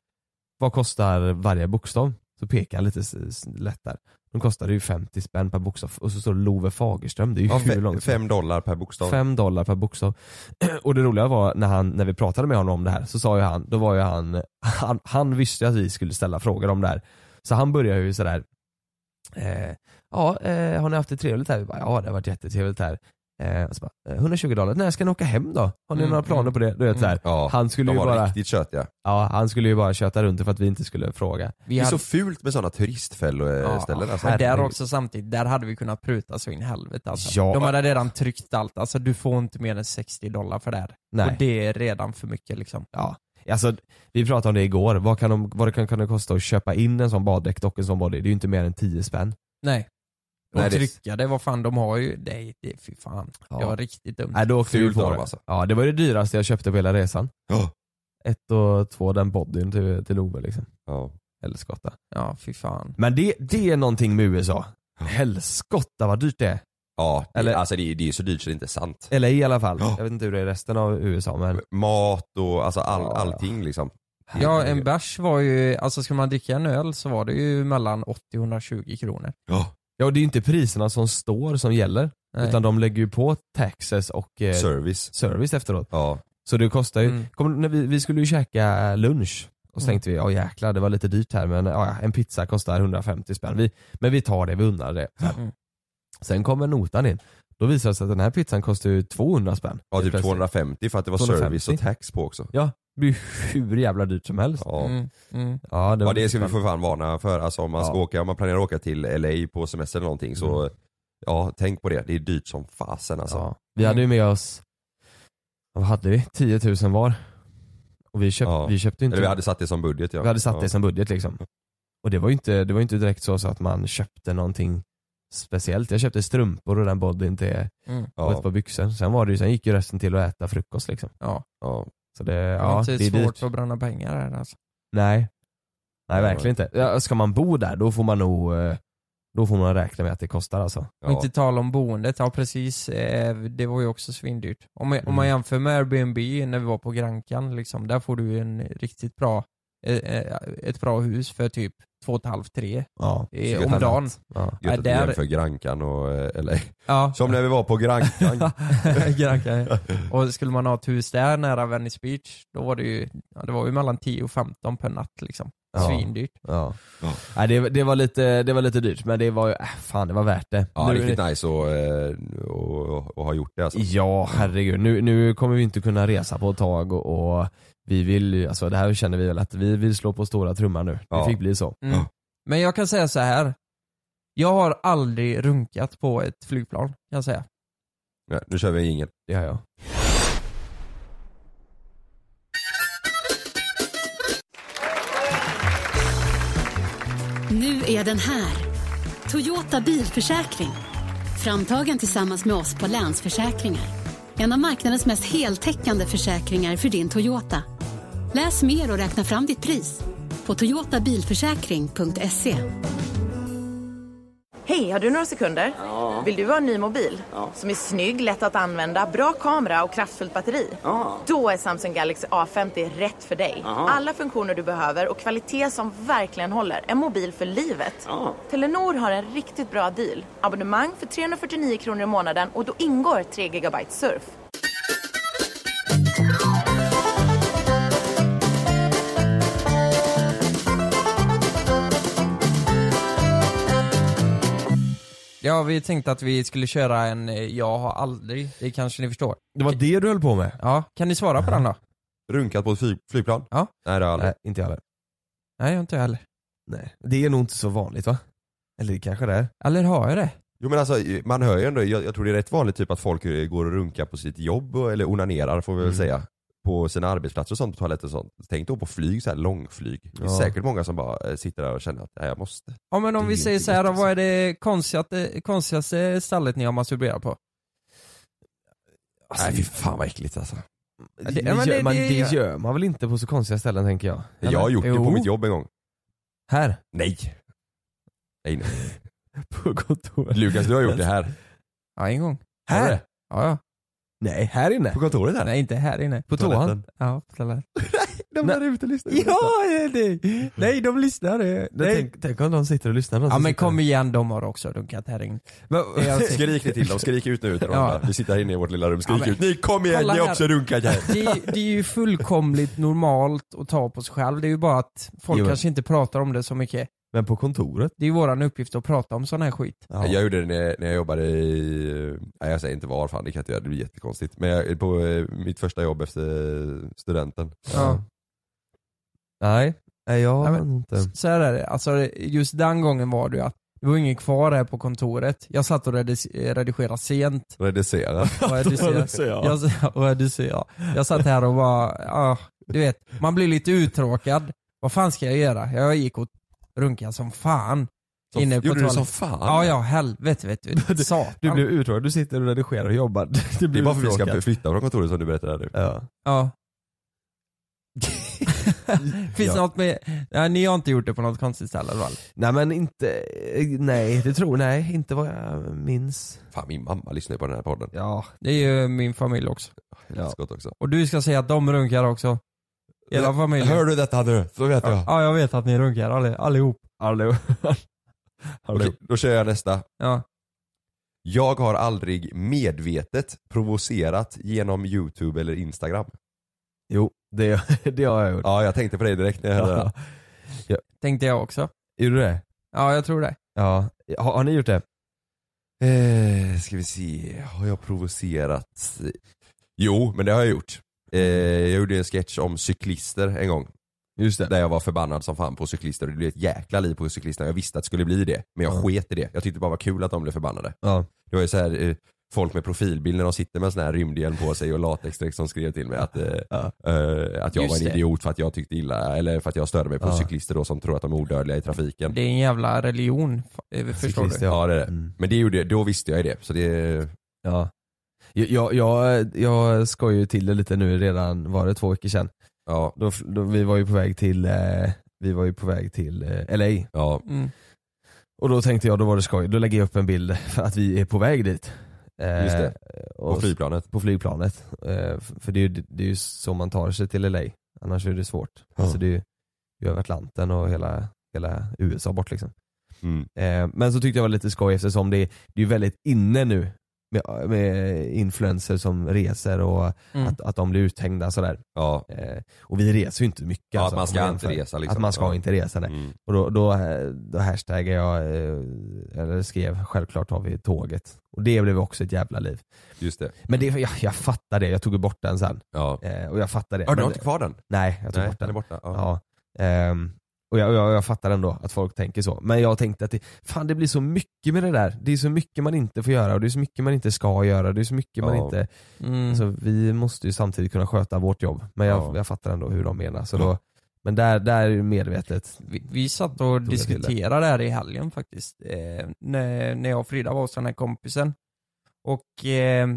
Speaker 5: vad kostar varje bokstav? Så pekar han lite s- s- lätt där. De kostade ju 50 spänn per bokstav och så står det Love Fagerström, det är ju
Speaker 3: Ja,
Speaker 5: hur
Speaker 3: fe-
Speaker 5: långt som
Speaker 3: fem dollar per bokstav.
Speaker 5: Fem dollar per bokstav. Och det roliga var när, han, när vi pratade med honom om det här så sa ju han, då var ju han, han, han visste ju att vi skulle ställa frågor om det här. Så han började ju sådär, eh, ja eh, har ni haft det trevligt här? Vi bara, ja det har varit jättetrevligt här. Eh, och så bara, eh, 120 dollar, när ska ni åka hem då? Har ni
Speaker 4: Mm,
Speaker 5: några planer
Speaker 4: mm.
Speaker 5: på det? Du vet,
Speaker 4: Mm.
Speaker 5: så här.
Speaker 3: Ja,
Speaker 5: Han skulle
Speaker 3: de
Speaker 5: ju
Speaker 3: var
Speaker 5: bara,
Speaker 3: riktigt tjötiga.
Speaker 5: ja, han skulle ju bara köta runt det för att vi inte skulle fråga.
Speaker 4: Vi
Speaker 3: Det är så
Speaker 4: hade,
Speaker 3: fult med sådana turistfällor-ställen
Speaker 5: Ja,
Speaker 3: alltså.
Speaker 4: men där
Speaker 5: herregud.
Speaker 4: också samtidigt, där hade vi kunnat pruta så in i helvete alltså.
Speaker 5: Ja.
Speaker 4: De hade redan tryckt allt, alltså du får inte mer än 60 dollar för det här.
Speaker 5: Nej.
Speaker 4: Och det är redan för mycket liksom.
Speaker 5: Ja, alltså vi pratade om det igår, vad, kan de, vad det kan, kan det kosta att köpa in en sån baddäck och en sån body? Det är ju inte mer än 10 spänn.
Speaker 4: Nej. Och
Speaker 3: Nej, det är-
Speaker 4: trycka det, vad fan de har ju, nej det, fy fan. Det var riktigt dumt.
Speaker 5: Nej då åkte vi
Speaker 3: Fult
Speaker 5: på
Speaker 3: av
Speaker 5: det.
Speaker 3: dem, alltså.
Speaker 5: Ja det var det dyraste jag köpte på hela resan.
Speaker 3: Ja.
Speaker 5: Ett och två den bodyn till, till Ove liksom.
Speaker 3: Ja.
Speaker 5: Eller skotta.
Speaker 4: Ja, fy fan.
Speaker 5: Men det, det är någonting med USA. Helskotta vad dyrt det är.
Speaker 3: Ja, det,
Speaker 5: Eller-
Speaker 3: alltså det, är- det är så dyrt så det är inte är sant.
Speaker 5: Eller i alla fall.
Speaker 3: Ja.
Speaker 5: Jag vet inte hur det är i resten av USA men.
Speaker 3: Mat och alltså all,
Speaker 5: Ja.
Speaker 3: allting liksom.
Speaker 4: Ja, en bärs var ju, alltså skulle man dricka en öl så var det ju mellan 80 och 120 kronor.
Speaker 3: Ja.
Speaker 5: Ja och det är ju inte priserna som står som gäller.
Speaker 4: Nej.
Speaker 5: Utan de lägger ju på taxes och eh,
Speaker 3: Service.
Speaker 5: service efteråt.
Speaker 3: Ja. typ
Speaker 5: Så det kostar ju,
Speaker 4: Mm.
Speaker 5: kommer du- när vi, vi skulle ju käka lunch och så
Speaker 4: Mm.
Speaker 5: tänkte vi, ja jäklar det var lite dyrt här men ja, en pizza kostar 150 spänn. Vi, men vi tar det, vi undrar det. Så här.
Speaker 4: Mm.
Speaker 5: Sen kommer notan in. Då visar det sig att den här pizzan kostar ju 200 spänn.
Speaker 3: ja, typ
Speaker 5: Plötsligt.
Speaker 3: 250 för att det var
Speaker 5: 250.
Speaker 3: service och tax på också.
Speaker 5: Ja, det blir ju hur jävla dyrt som helst.
Speaker 3: Ja.
Speaker 4: Mm, mm.
Speaker 5: Ja, det,
Speaker 3: Ja
Speaker 5: var
Speaker 3: det ska vi
Speaker 5: spännande.
Speaker 3: för fan varna för. Alltså om man, ska
Speaker 5: Ja. Mm.
Speaker 3: åka, om man planerar att åka till LA på semester eller någonting så ja, tänk på det. Det är dyrt som fasen alltså.
Speaker 5: ja. Vi hade ju med oss, vad hade vi? 10 000 var. Och vi, köpt,
Speaker 3: Ja.
Speaker 5: vi köpte ju inte,
Speaker 3: Eller vi hade satt det som budget ja.
Speaker 5: vi hade satt
Speaker 3: ja.
Speaker 5: det som budget liksom. Och det var ju inte, det var ju inte direkt så, så att man köpte någonting speciellt. Jag köpte strumpor och den bodyn till
Speaker 4: Mm.
Speaker 5: och ett par
Speaker 3: Ja.
Speaker 5: byxor. Sen, var det ju, sen gick ju resten till att äta frukost liksom.
Speaker 4: Ja.
Speaker 3: Ja.
Speaker 5: Så det,
Speaker 4: Det
Speaker 5: ja,
Speaker 4: var
Speaker 5: det är
Speaker 4: inte svårt
Speaker 5: dyrt.
Speaker 4: att bränna pengar här alltså.
Speaker 5: Nej. Nej
Speaker 3: Ja.
Speaker 5: verkligen inte. Ja, ska man bo där då får man nog eh, då får man räkna med att det kostar alltså.
Speaker 4: Och inte tala om boendet, ja precis, eh, det var ju också svindyrt. Om man, om man
Speaker 5: Mm.
Speaker 4: jämför med Airbnb när vi var på Grankan, liksom, där får du ju en riktigt bra, eh, eh, ett bra hus för typ 2,5-3
Speaker 5: Ja.
Speaker 4: eh, om dagen.
Speaker 5: Ja.
Speaker 3: Gött att vi
Speaker 4: där-
Speaker 3: jämför Grankan och eh, LA.
Speaker 4: Ja,
Speaker 3: Som när vi var på Grankan.
Speaker 4: Grankan. ja. Och skulle man ha ett hus där nära Venice Beach, då var det ju, ja, det var ju mellan 10 och 15 per natt liksom.
Speaker 5: Ja.
Speaker 4: Svindyrt.
Speaker 5: ja.
Speaker 3: Ja.
Speaker 5: Nej, det, det, var lite, det var lite dyrt men det var ju, äh, fan det var värt det.
Speaker 3: Ja,
Speaker 5: nu,
Speaker 3: riktigt nice att eh, och, och, och ha gjort det alltså.
Speaker 5: ja herregud, nu, nu kommer vi inte kunna resa på ett tag och, och vi vill ju, alltså det här känner vi väl att vi vill slå på stora trumman nu.
Speaker 3: Ja.
Speaker 5: Det fick bli så.
Speaker 4: Mm.
Speaker 3: Ja.
Speaker 4: Men jag kan säga så här. Jag har aldrig runkat på ett flygplan, kan jag säga.
Speaker 3: Nej, nu kör vi ingen.
Speaker 5: Det har jag.
Speaker 2: Nu är den här. Toyota bilförsäkring. Framtagen tillsammans med oss på Länsförsäkringar. En av marknadens mest heltäckande försäkringar för din Toyota. Läs mer och räkna fram ditt pris på toyotabilförsäkring.se.
Speaker 6: Hej, har du några sekunder? Vill du ha en ny mobil? Som är snygg, lätt att använda, bra kamera och kraftfullt batteri? Då är Samsung Galaxy A50 rätt för dig. Alla funktioner du behöver och kvalitet som verkligen håller. En mobil för livet. Telenor har en riktigt bra deal. Abonnemang för 349 kronor i månaden och då ingår 3 GB surf.
Speaker 4: Ja, vi tänkte att vi skulle köra en eh, Jag har aldrig, det kanske ni förstår.
Speaker 5: Det var det du höll på med?
Speaker 4: Ja, kan ni svara på den då?
Speaker 3: Runkat på ett flyg, flygplan?
Speaker 4: Ja.
Speaker 3: Nej det har jag aldrig.
Speaker 5: Nej, inte jag heller.
Speaker 4: Nej, jag har inte jag heller.
Speaker 5: Nej. Det är nog inte så vanligt va? Eller det kanske det är.
Speaker 4: Eller har jag det?
Speaker 3: Jo men alltså man hör ju ändå, jag, jag tror det är rätt vanligt typ att folk går och runkar på sitt jobb och- eller onanerar får vi väl
Speaker 5: Mm.
Speaker 3: säga. På sina arbetsplatser och sånt, på toaletter och sånt. Tänk då på flyg, så här långflyg. Det är
Speaker 5: Ja.
Speaker 3: säkert många som bara eh, sitter där och känner att nej, jag måste.
Speaker 4: Ja men om
Speaker 3: Det är
Speaker 4: vi
Speaker 3: alltså.
Speaker 4: säger
Speaker 3: inte
Speaker 4: så här då,
Speaker 3: gött,
Speaker 4: vad är det konstigaste, konstigaste stallet ni har masturberat på?
Speaker 3: nej fy fan vad äckligt alltså.
Speaker 5: Det,
Speaker 4: det- men
Speaker 5: gör,
Speaker 4: det-
Speaker 5: man,
Speaker 4: det-
Speaker 5: det gör man väl inte på så konstiga ställen tänker jag?
Speaker 3: Jag har
Speaker 5: Eller?
Speaker 3: gjort det på
Speaker 5: Jo.
Speaker 3: mitt jobb en gång.
Speaker 5: Här.
Speaker 3: Nej. Nej, nej.
Speaker 5: På kontoret.
Speaker 3: Lukas du har gjort det här.
Speaker 4: Ja en gång.
Speaker 3: Har du
Speaker 5: Här?
Speaker 3: det?
Speaker 4: Ja, ja.
Speaker 5: Nej, här inne.
Speaker 3: På kontoret här?
Speaker 4: Nej inte här inne. På
Speaker 3: toaletten?
Speaker 4: toan? Ja, på toaletten.
Speaker 3: De där ute lyssnar ju på
Speaker 4: Ja, det, nej de lyssnar. det-
Speaker 5: Nej.
Speaker 4: Nej.
Speaker 5: Tänk, tänk om de sitter och lyssnar.
Speaker 4: Ja men kom igen, de har också dunkat här inne.
Speaker 3: detta.
Speaker 4: Jag tänker-
Speaker 3: Skrik lite till dem, skrik ut nu till dem.
Speaker 4: Ja.
Speaker 3: Vi sitter här inne i vårt lilla rum, skrik
Speaker 4: Ja, men-
Speaker 3: ut. Ni kom igen,
Speaker 4: Kolla
Speaker 3: ni har
Speaker 4: här.
Speaker 3: också runkat här.
Speaker 4: Det, är- det är ju fullkomligt normalt att ta på sig själv, det är ju bara att folk
Speaker 5: Jo.
Speaker 4: kanske inte pratar om det så mycket.
Speaker 5: Men på kontoret?
Speaker 4: Det är ju våran uppgift att prata om sån här skit.
Speaker 5: Ja.
Speaker 3: Jag gjorde det när jag, när jag jobbade i, nej jag säger inte var fan, det kan jag inte göra, det blir jättekonstigt. Men jag, på eh, mitt första jobb efter eh, studenten.
Speaker 4: Ja.
Speaker 5: Nej. Nej, jag har
Speaker 4: Nej, men-
Speaker 5: inte.
Speaker 4: Så här är det, alltså just den gången var det ju att det var ingen kvar här på kontoret. Jag satt och redis- eh, redigerade sent.
Speaker 3: Reducera.
Speaker 4: Och redigerade, jag, s- och redigerade. jag satt här och var, ja, du vet, man blir lite uttråkad. Vad fan ska jag göra? Jag gick och runkade som fan.
Speaker 3: Som-
Speaker 4: inne på
Speaker 3: Gjorde du
Speaker 4: toaletten.
Speaker 3: som fan?
Speaker 4: Ja, ja, helvete vet du. Satan.
Speaker 5: Du blev uttråkad, du sitter och redigerar och jobbar. Du
Speaker 3: Det är
Speaker 5: blir
Speaker 3: bara för att vi ska
Speaker 5: uttråkad.
Speaker 3: flytta från kontoret som du berättade här nu.
Speaker 5: Ja.
Speaker 4: Ja. Finns det något med, ja, ni har inte gjort det på något konstigt ställe i alla fall?
Speaker 5: Nej men inte, nej det tror nej inte vad jag minns.
Speaker 3: Fan min mamma lyssnar ju på den här podden.
Speaker 5: Ja.
Speaker 4: Det är ju min familj också.
Speaker 3: Ja. Skott också.
Speaker 4: Och du ska säga att de runkar också. Hela familjen.
Speaker 3: Hör du detta nu? Så vet jag.
Speaker 4: Ja, jag vet att ni runkar alli- allihop.
Speaker 5: Hallå. Hallå.
Speaker 3: Okej, då kör jag nästa.
Speaker 4: Ja.
Speaker 3: Jag har aldrig medvetet provocerat genom YouTube eller Instagram.
Speaker 5: Jo, det, det har jag gjort.
Speaker 3: Ja, jag tänkte på dig direkt när jag hörde det.
Speaker 5: Ja.
Speaker 4: Tänkte jag också.
Speaker 5: Gjorde du det?
Speaker 4: Ja, jag tror det.
Speaker 5: Ja. Har, har ni gjort det?
Speaker 3: Eh, ska vi se, har jag provocerat? Jo, men det har jag gjort. Eh, jag gjorde en sketch om cyklister en gång.
Speaker 5: Just
Speaker 3: Där jag var förbannad som fan på cyklister och det blev ett jäkla liv på cyklisterna. Jag visste att det skulle bli det, men jag
Speaker 5: Ja.
Speaker 3: sket i det. Jag tyckte det bara var kul att de blev förbannade.
Speaker 5: Ja.
Speaker 3: Det var ju så här eh, folk med profilbild när de sitter med en sån här rymdhjälm på sig och latexdräkt som skrev till mig att, eh,
Speaker 5: Ja.
Speaker 3: eh, att jag
Speaker 4: Just
Speaker 3: var en
Speaker 4: det.
Speaker 3: idiot för att jag tyckte illa, eller för att jag störde mig på
Speaker 5: Ja.
Speaker 3: cyklister då som tror att de är odödliga i trafiken.
Speaker 4: Det är en jävla religion. f- eh,
Speaker 5: Alltså,
Speaker 4: Förstår du?
Speaker 5: Cyklister.
Speaker 3: Ja det är det.
Speaker 5: Mm.
Speaker 3: Men det gjorde, då visste jag ju det. Så det
Speaker 5: Ja. Jag, jag, jag, jag skojade ju till det lite nu redan, var det två veckor sedan?
Speaker 3: ja,
Speaker 5: Då, då, vi var ju på väg till, eh, vi var ju på väg till eh, LA.
Speaker 3: ja.
Speaker 4: Mm.
Speaker 5: Och då tänkte jag, då var det skoj. Då lägger jag upp en bild för att vi är på väg dit. Eh,
Speaker 3: Just det.
Speaker 5: och-
Speaker 3: På flygplanet.
Speaker 5: på flygplanet. Eh, f- För det är, ju, det är ju så man tar sig till LA. Annars är det svårt.
Speaker 3: Ja.
Speaker 5: Alltså det är ju det är över Atlanten och hela, hela USA bort liksom.
Speaker 3: Mm.
Speaker 5: Eh, Men så tyckte jag det var lite skoj eftersom det, det är ju väldigt inne nu med, med influencers som reser och
Speaker 4: Mm.
Speaker 5: att, att de blir uthängda sådär.
Speaker 3: Ja.
Speaker 5: Eh, Och vi reser ju inte mycket.
Speaker 3: Ja, att
Speaker 5: alltså,
Speaker 3: man
Speaker 5: om
Speaker 3: ska inte
Speaker 5: jämför.
Speaker 3: resa, liksom.
Speaker 5: Att man ska
Speaker 3: Ja.
Speaker 5: inte resa nej.
Speaker 3: Mm.
Speaker 5: Och då, då, eh, då hashtaggar jag, eh, eller skrev självklart har vi tåget. Och det blev också ett jävla liv.
Speaker 3: Just det.
Speaker 5: Men det, jag, jag fattar det, jag tog ju bort den sen.
Speaker 3: Ja.
Speaker 5: Eh, och jag fattar det.
Speaker 3: Har du
Speaker 5: Men-
Speaker 3: har inte kvar den?
Speaker 5: Nej, jag tog
Speaker 3: Nej,
Speaker 5: bort
Speaker 3: den
Speaker 5: den.
Speaker 3: är borta. Ja.
Speaker 5: Ja. Ehm, och jag, jag, jag fattar ändå att folk tänker så. Men jag tänkte att det, fan det blir så mycket med det där. Det är så mycket man inte får göra och det är så mycket man inte ska göra. Det är så mycket man
Speaker 3: Ja.
Speaker 5: inte...
Speaker 4: Mm.
Speaker 5: Alltså, vi måste ju samtidigt kunna sköta vårt jobb. Men jag,
Speaker 3: Ja.
Speaker 5: jag fattar ändå hur de menar. Så då, men där, där är ju medvetet.
Speaker 4: Vi, vi satt och
Speaker 5: jag till det.
Speaker 4: diskuterade det här i helgen faktiskt. Eh, när, när jag och Frida var hos den här kompisen. Och eh,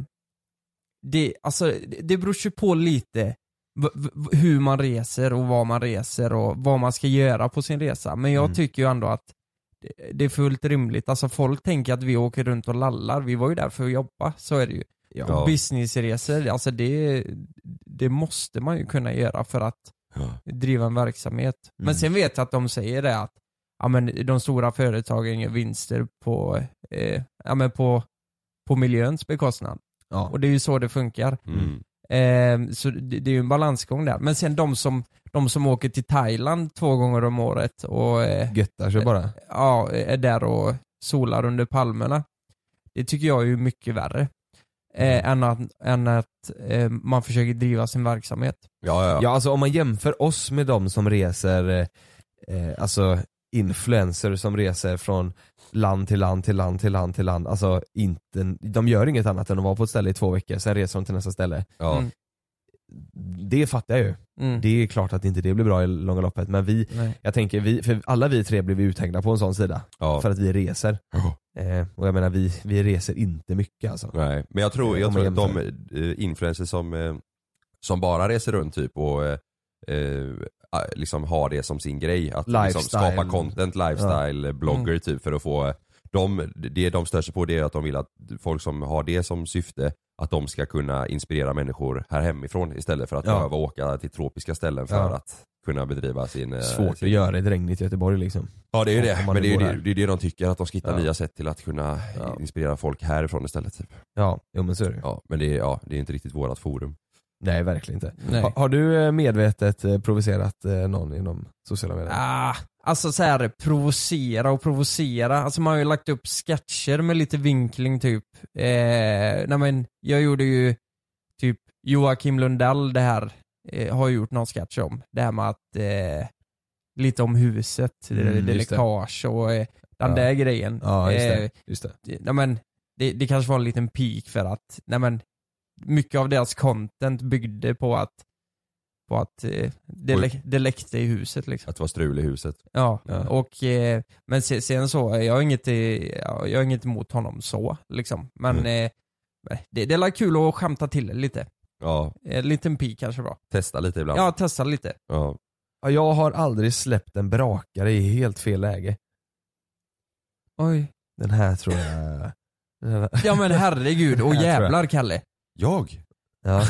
Speaker 4: det, alltså, det det beror ju på lite v- v- hur man reser och var man reser och vad man ska göra på sin resa. Men jag
Speaker 5: Mm.
Speaker 4: tycker ju ändå att det- det är fullt rimligt. Alltså folk tänker att vi åker runt och lallar. Vi var ju där för att jobba, så är det ju.
Speaker 3: Ja.
Speaker 4: Och businessresor, alltså det, det måste man ju kunna göra för att driva en verksamhet.
Speaker 3: Mm.
Speaker 4: Men sen vet jag att de säger det att ja, men de stora företagen gör vinster på, eh, ja, men på, på miljöns bekostnad.
Speaker 5: Ja.
Speaker 4: Och det är ju så det funkar.
Speaker 3: Mm.
Speaker 4: Eh, så det, det är ju en balansgång där. Men sen de som, de som åker till Thailand två gånger om året och eh,
Speaker 5: Göttar sig bara.
Speaker 4: ja, är där och solar under palmerna. Det tycker jag är ju mycket värre. Eh, än att, än att eh, man försöker driva sin verksamhet.
Speaker 3: Ja, ja,
Speaker 5: Ja alltså om man jämför oss med de som reser, eh, eh, alltså influencer som reser från land till land till land till land till land. Alltså inte, de gör inget annat än att vara på ett ställe i två veckor, sen reser de till nästa ställe.
Speaker 3: ja.
Speaker 4: Mm.
Speaker 5: Det fattar jag ju.
Speaker 4: Mm.
Speaker 5: Det är klart att inte det blir bra i långa loppet men vi,
Speaker 4: Nej.
Speaker 5: jag tänker, vi, för alla vi tre blev ju uthängda på en sån sida.
Speaker 3: ja.
Speaker 5: För att vi reser. Eh, och jag menar vi, vi reser inte mycket alltså.
Speaker 3: Nej, men jag tror, jag
Speaker 5: Om
Speaker 3: tror
Speaker 5: man
Speaker 3: att de eh, influencers som, eh, som bara reser runt typ och eh, eh, liksom har det som sin grej, att liksom
Speaker 5: Lifestyle. Mm.
Speaker 3: skapa content, lifestyle, blogger typ för att få de, det de stör sig på det är att de vill att folk som har det som syfte att de ska kunna inspirera människor här hemifrån istället för att
Speaker 5: Ja.
Speaker 3: behöva åka till tropiska ställen för
Speaker 5: Ja.
Speaker 3: att kunna bedriva sin... eh,
Speaker 5: Svårt att
Speaker 3: sin...
Speaker 5: göra i ett regnigt Göteborg liksom.
Speaker 3: Ja det är ju
Speaker 5: om
Speaker 3: det,
Speaker 5: man
Speaker 3: men
Speaker 5: nu
Speaker 3: det är ju
Speaker 5: går
Speaker 3: det,
Speaker 5: där.
Speaker 3: det, är det de tycker att de ska hitta
Speaker 5: Ja.
Speaker 3: nya sätt till att kunna
Speaker 5: Ja.
Speaker 3: inspirera folk härifrån istället. Typ.
Speaker 5: Ja, jo men så är det ju.
Speaker 3: Ja, men det är, ja, det är inte riktigt vårat forum.
Speaker 5: Nej verkligen inte.
Speaker 4: Nej.
Speaker 5: Ha, har du eh, medvetet eh, provocerat eh, någon inom sociala medier?
Speaker 4: Ah, alltså så här, provocera och provocera. Alltså man har ju lagt upp sketcher med lite vinkling typ. Eh, nej men, jag gjorde ju typ Joakim Lundell det här, eh, har jag gjort någon sketch om. Det här med att, eh, lite om huset,
Speaker 5: Mm,
Speaker 4: det, det
Speaker 5: just det.
Speaker 4: läckage och eh, den
Speaker 5: Ja.
Speaker 4: där grejen.
Speaker 5: Ja just
Speaker 4: Eh,
Speaker 5: det. Just det.
Speaker 4: det- nej men, det, det kanske var en liten peak för att, nej men, mycket av deras content byggde på att, på att eh, det,
Speaker 3: Oj.
Speaker 4: läck, det läckte i huset liksom.
Speaker 3: Att det var strul i huset.
Speaker 4: Ja,
Speaker 5: Ja.
Speaker 4: och eh, men se- sen så, eh, jag har inget, eh, ja, jag har inget emot honom så liksom.
Speaker 5: Mm.
Speaker 4: Men eh, det, det är väl kul att skämta till det lite. Eh,
Speaker 3: Ja,
Speaker 4: En liten pi kanske var.
Speaker 3: testa lite ibland.
Speaker 4: Ja, testa lite.
Speaker 3: Ja.
Speaker 5: Ja, jag har aldrig släppt en brakare i helt fel läge.
Speaker 4: Oj.
Speaker 5: Den här tror jag... Den här-
Speaker 4: Ja men herregud, och
Speaker 5: Jag tror jag.
Speaker 4: jävlar Kalle.
Speaker 3: Jag?
Speaker 5: ja.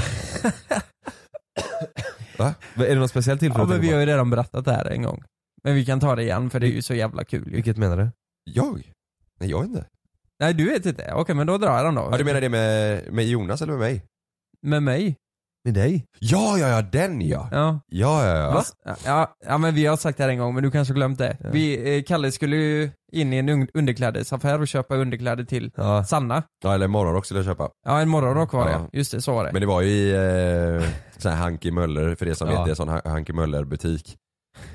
Speaker 5: Va? Är det något speciellt tillfälle?
Speaker 4: Ja
Speaker 5: du
Speaker 4: men vi
Speaker 5: tänker
Speaker 4: har
Speaker 5: på?
Speaker 4: ju redan berättat det här en gång. Men vi kan ta det igen för det är ju så jävla kul ju.
Speaker 5: Vilket menar du?
Speaker 3: Jag? Nej jag inte.
Speaker 4: Nej du vet inte, okej men då drar jag den då.
Speaker 3: Ja du menar det med, med Jonas eller med mig?
Speaker 4: Med mig?
Speaker 5: Med dig?
Speaker 3: Ja ja ja den ja!
Speaker 4: Ja.
Speaker 3: Ja ja ja.
Speaker 4: Ja, ja men vi har sagt det här en gång men du kanske har glömt det.
Speaker 5: Ja.
Speaker 4: Vi, eh, Kalle skulle ju in i en un- underklädesaffär och köpa underkläder till
Speaker 5: Ja.
Speaker 4: Sanna.
Speaker 3: Ja eller morgonrock skulle jag köpa.
Speaker 4: Ja en morgonrock var det,
Speaker 3: Ja.
Speaker 4: just det så var det.
Speaker 3: Men det var ju i eh, sån här Hanke Möller, för det som
Speaker 5: Ja.
Speaker 3: vet det är sån Ha- Hanke Möller butik.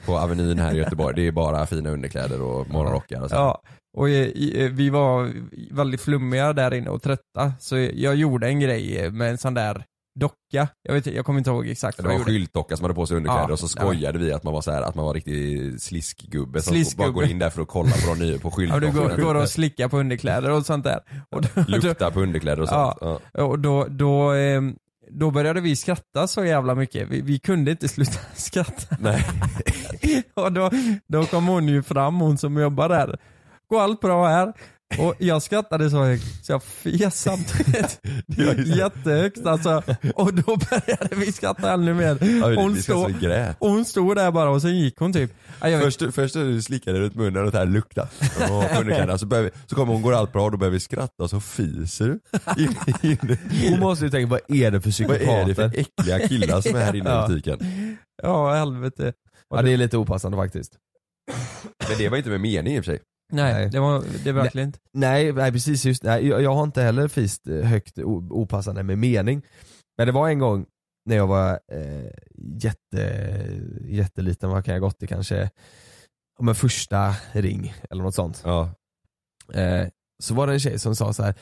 Speaker 3: På Avenyn här i Göteborg. Det är bara fina underkläder och morgonrockar och så.
Speaker 4: Ja, och eh, i- eh, vi var väldigt flummiga där inne och trötta så jag gjorde en grej eh, med en sån där docka. Jag, vet, jag kommer inte ihåg exakt
Speaker 3: Det
Speaker 4: vad
Speaker 3: var
Speaker 4: jag
Speaker 3: en
Speaker 4: gjorde.
Speaker 3: skyltdocka som hade på sig underkläder
Speaker 4: Ja.
Speaker 3: och så skojade vi att man var så här, att man var riktig sliskgubbe som
Speaker 4: Sliskgubbe.
Speaker 3: bara går in där för att kolla på de nya på
Speaker 4: Ja, du
Speaker 3: skyltdockorna.
Speaker 4: går, går och slickar på underkläder och sånt där. Och då, då,
Speaker 3: Luktar på underkläder och sånt. Ja.
Speaker 4: Och då, då, ehm, då började vi skratta så jävla mycket. Vi, vi kunde inte sluta skratta.
Speaker 3: Nej.
Speaker 4: Och då, då kom hon ju fram, hon som jobbar där. Går allt bra här? Och jag skrattade så högt så jag fes samtidigt. Jättehögt alltså. Och då började vi skratta ännu mer.
Speaker 3: Ja, vi-
Speaker 4: Hon
Speaker 3: vi ska
Speaker 4: stod,
Speaker 3: så grät.
Speaker 4: och hon stod där bara och sen gick hon typ. Ja, Jag vet,
Speaker 3: Först, först är du slickade runt munnen och det här luktar. Och underkläderna, så, börjar vi, så kommer hon, går allt bra och då börjar vi skratta och så fiser du. In, in,
Speaker 5: Hon måste ju tänka, vad är det för
Speaker 3: vad
Speaker 5: psykopater?
Speaker 3: är det för äckliga killar som är här inne i
Speaker 5: Ja.
Speaker 3: butiken?
Speaker 4: ja helvete.
Speaker 5: Ja det är lite opassande faktiskt.
Speaker 3: Men det var inte med mening i och för sig.
Speaker 4: Nej,
Speaker 5: Nej.
Speaker 4: det var det är verkligen inte.
Speaker 5: Nej, nej precis, just nej, jag, jag har inte heller fist eh, högt o- opassande med mening. Men det var en gång när jag var eh, jätte, jätteliten, vad kan jag gått i kanske, om en första ring eller något sånt.
Speaker 3: Ja.
Speaker 5: Eh, så var det en tjej som sa så här.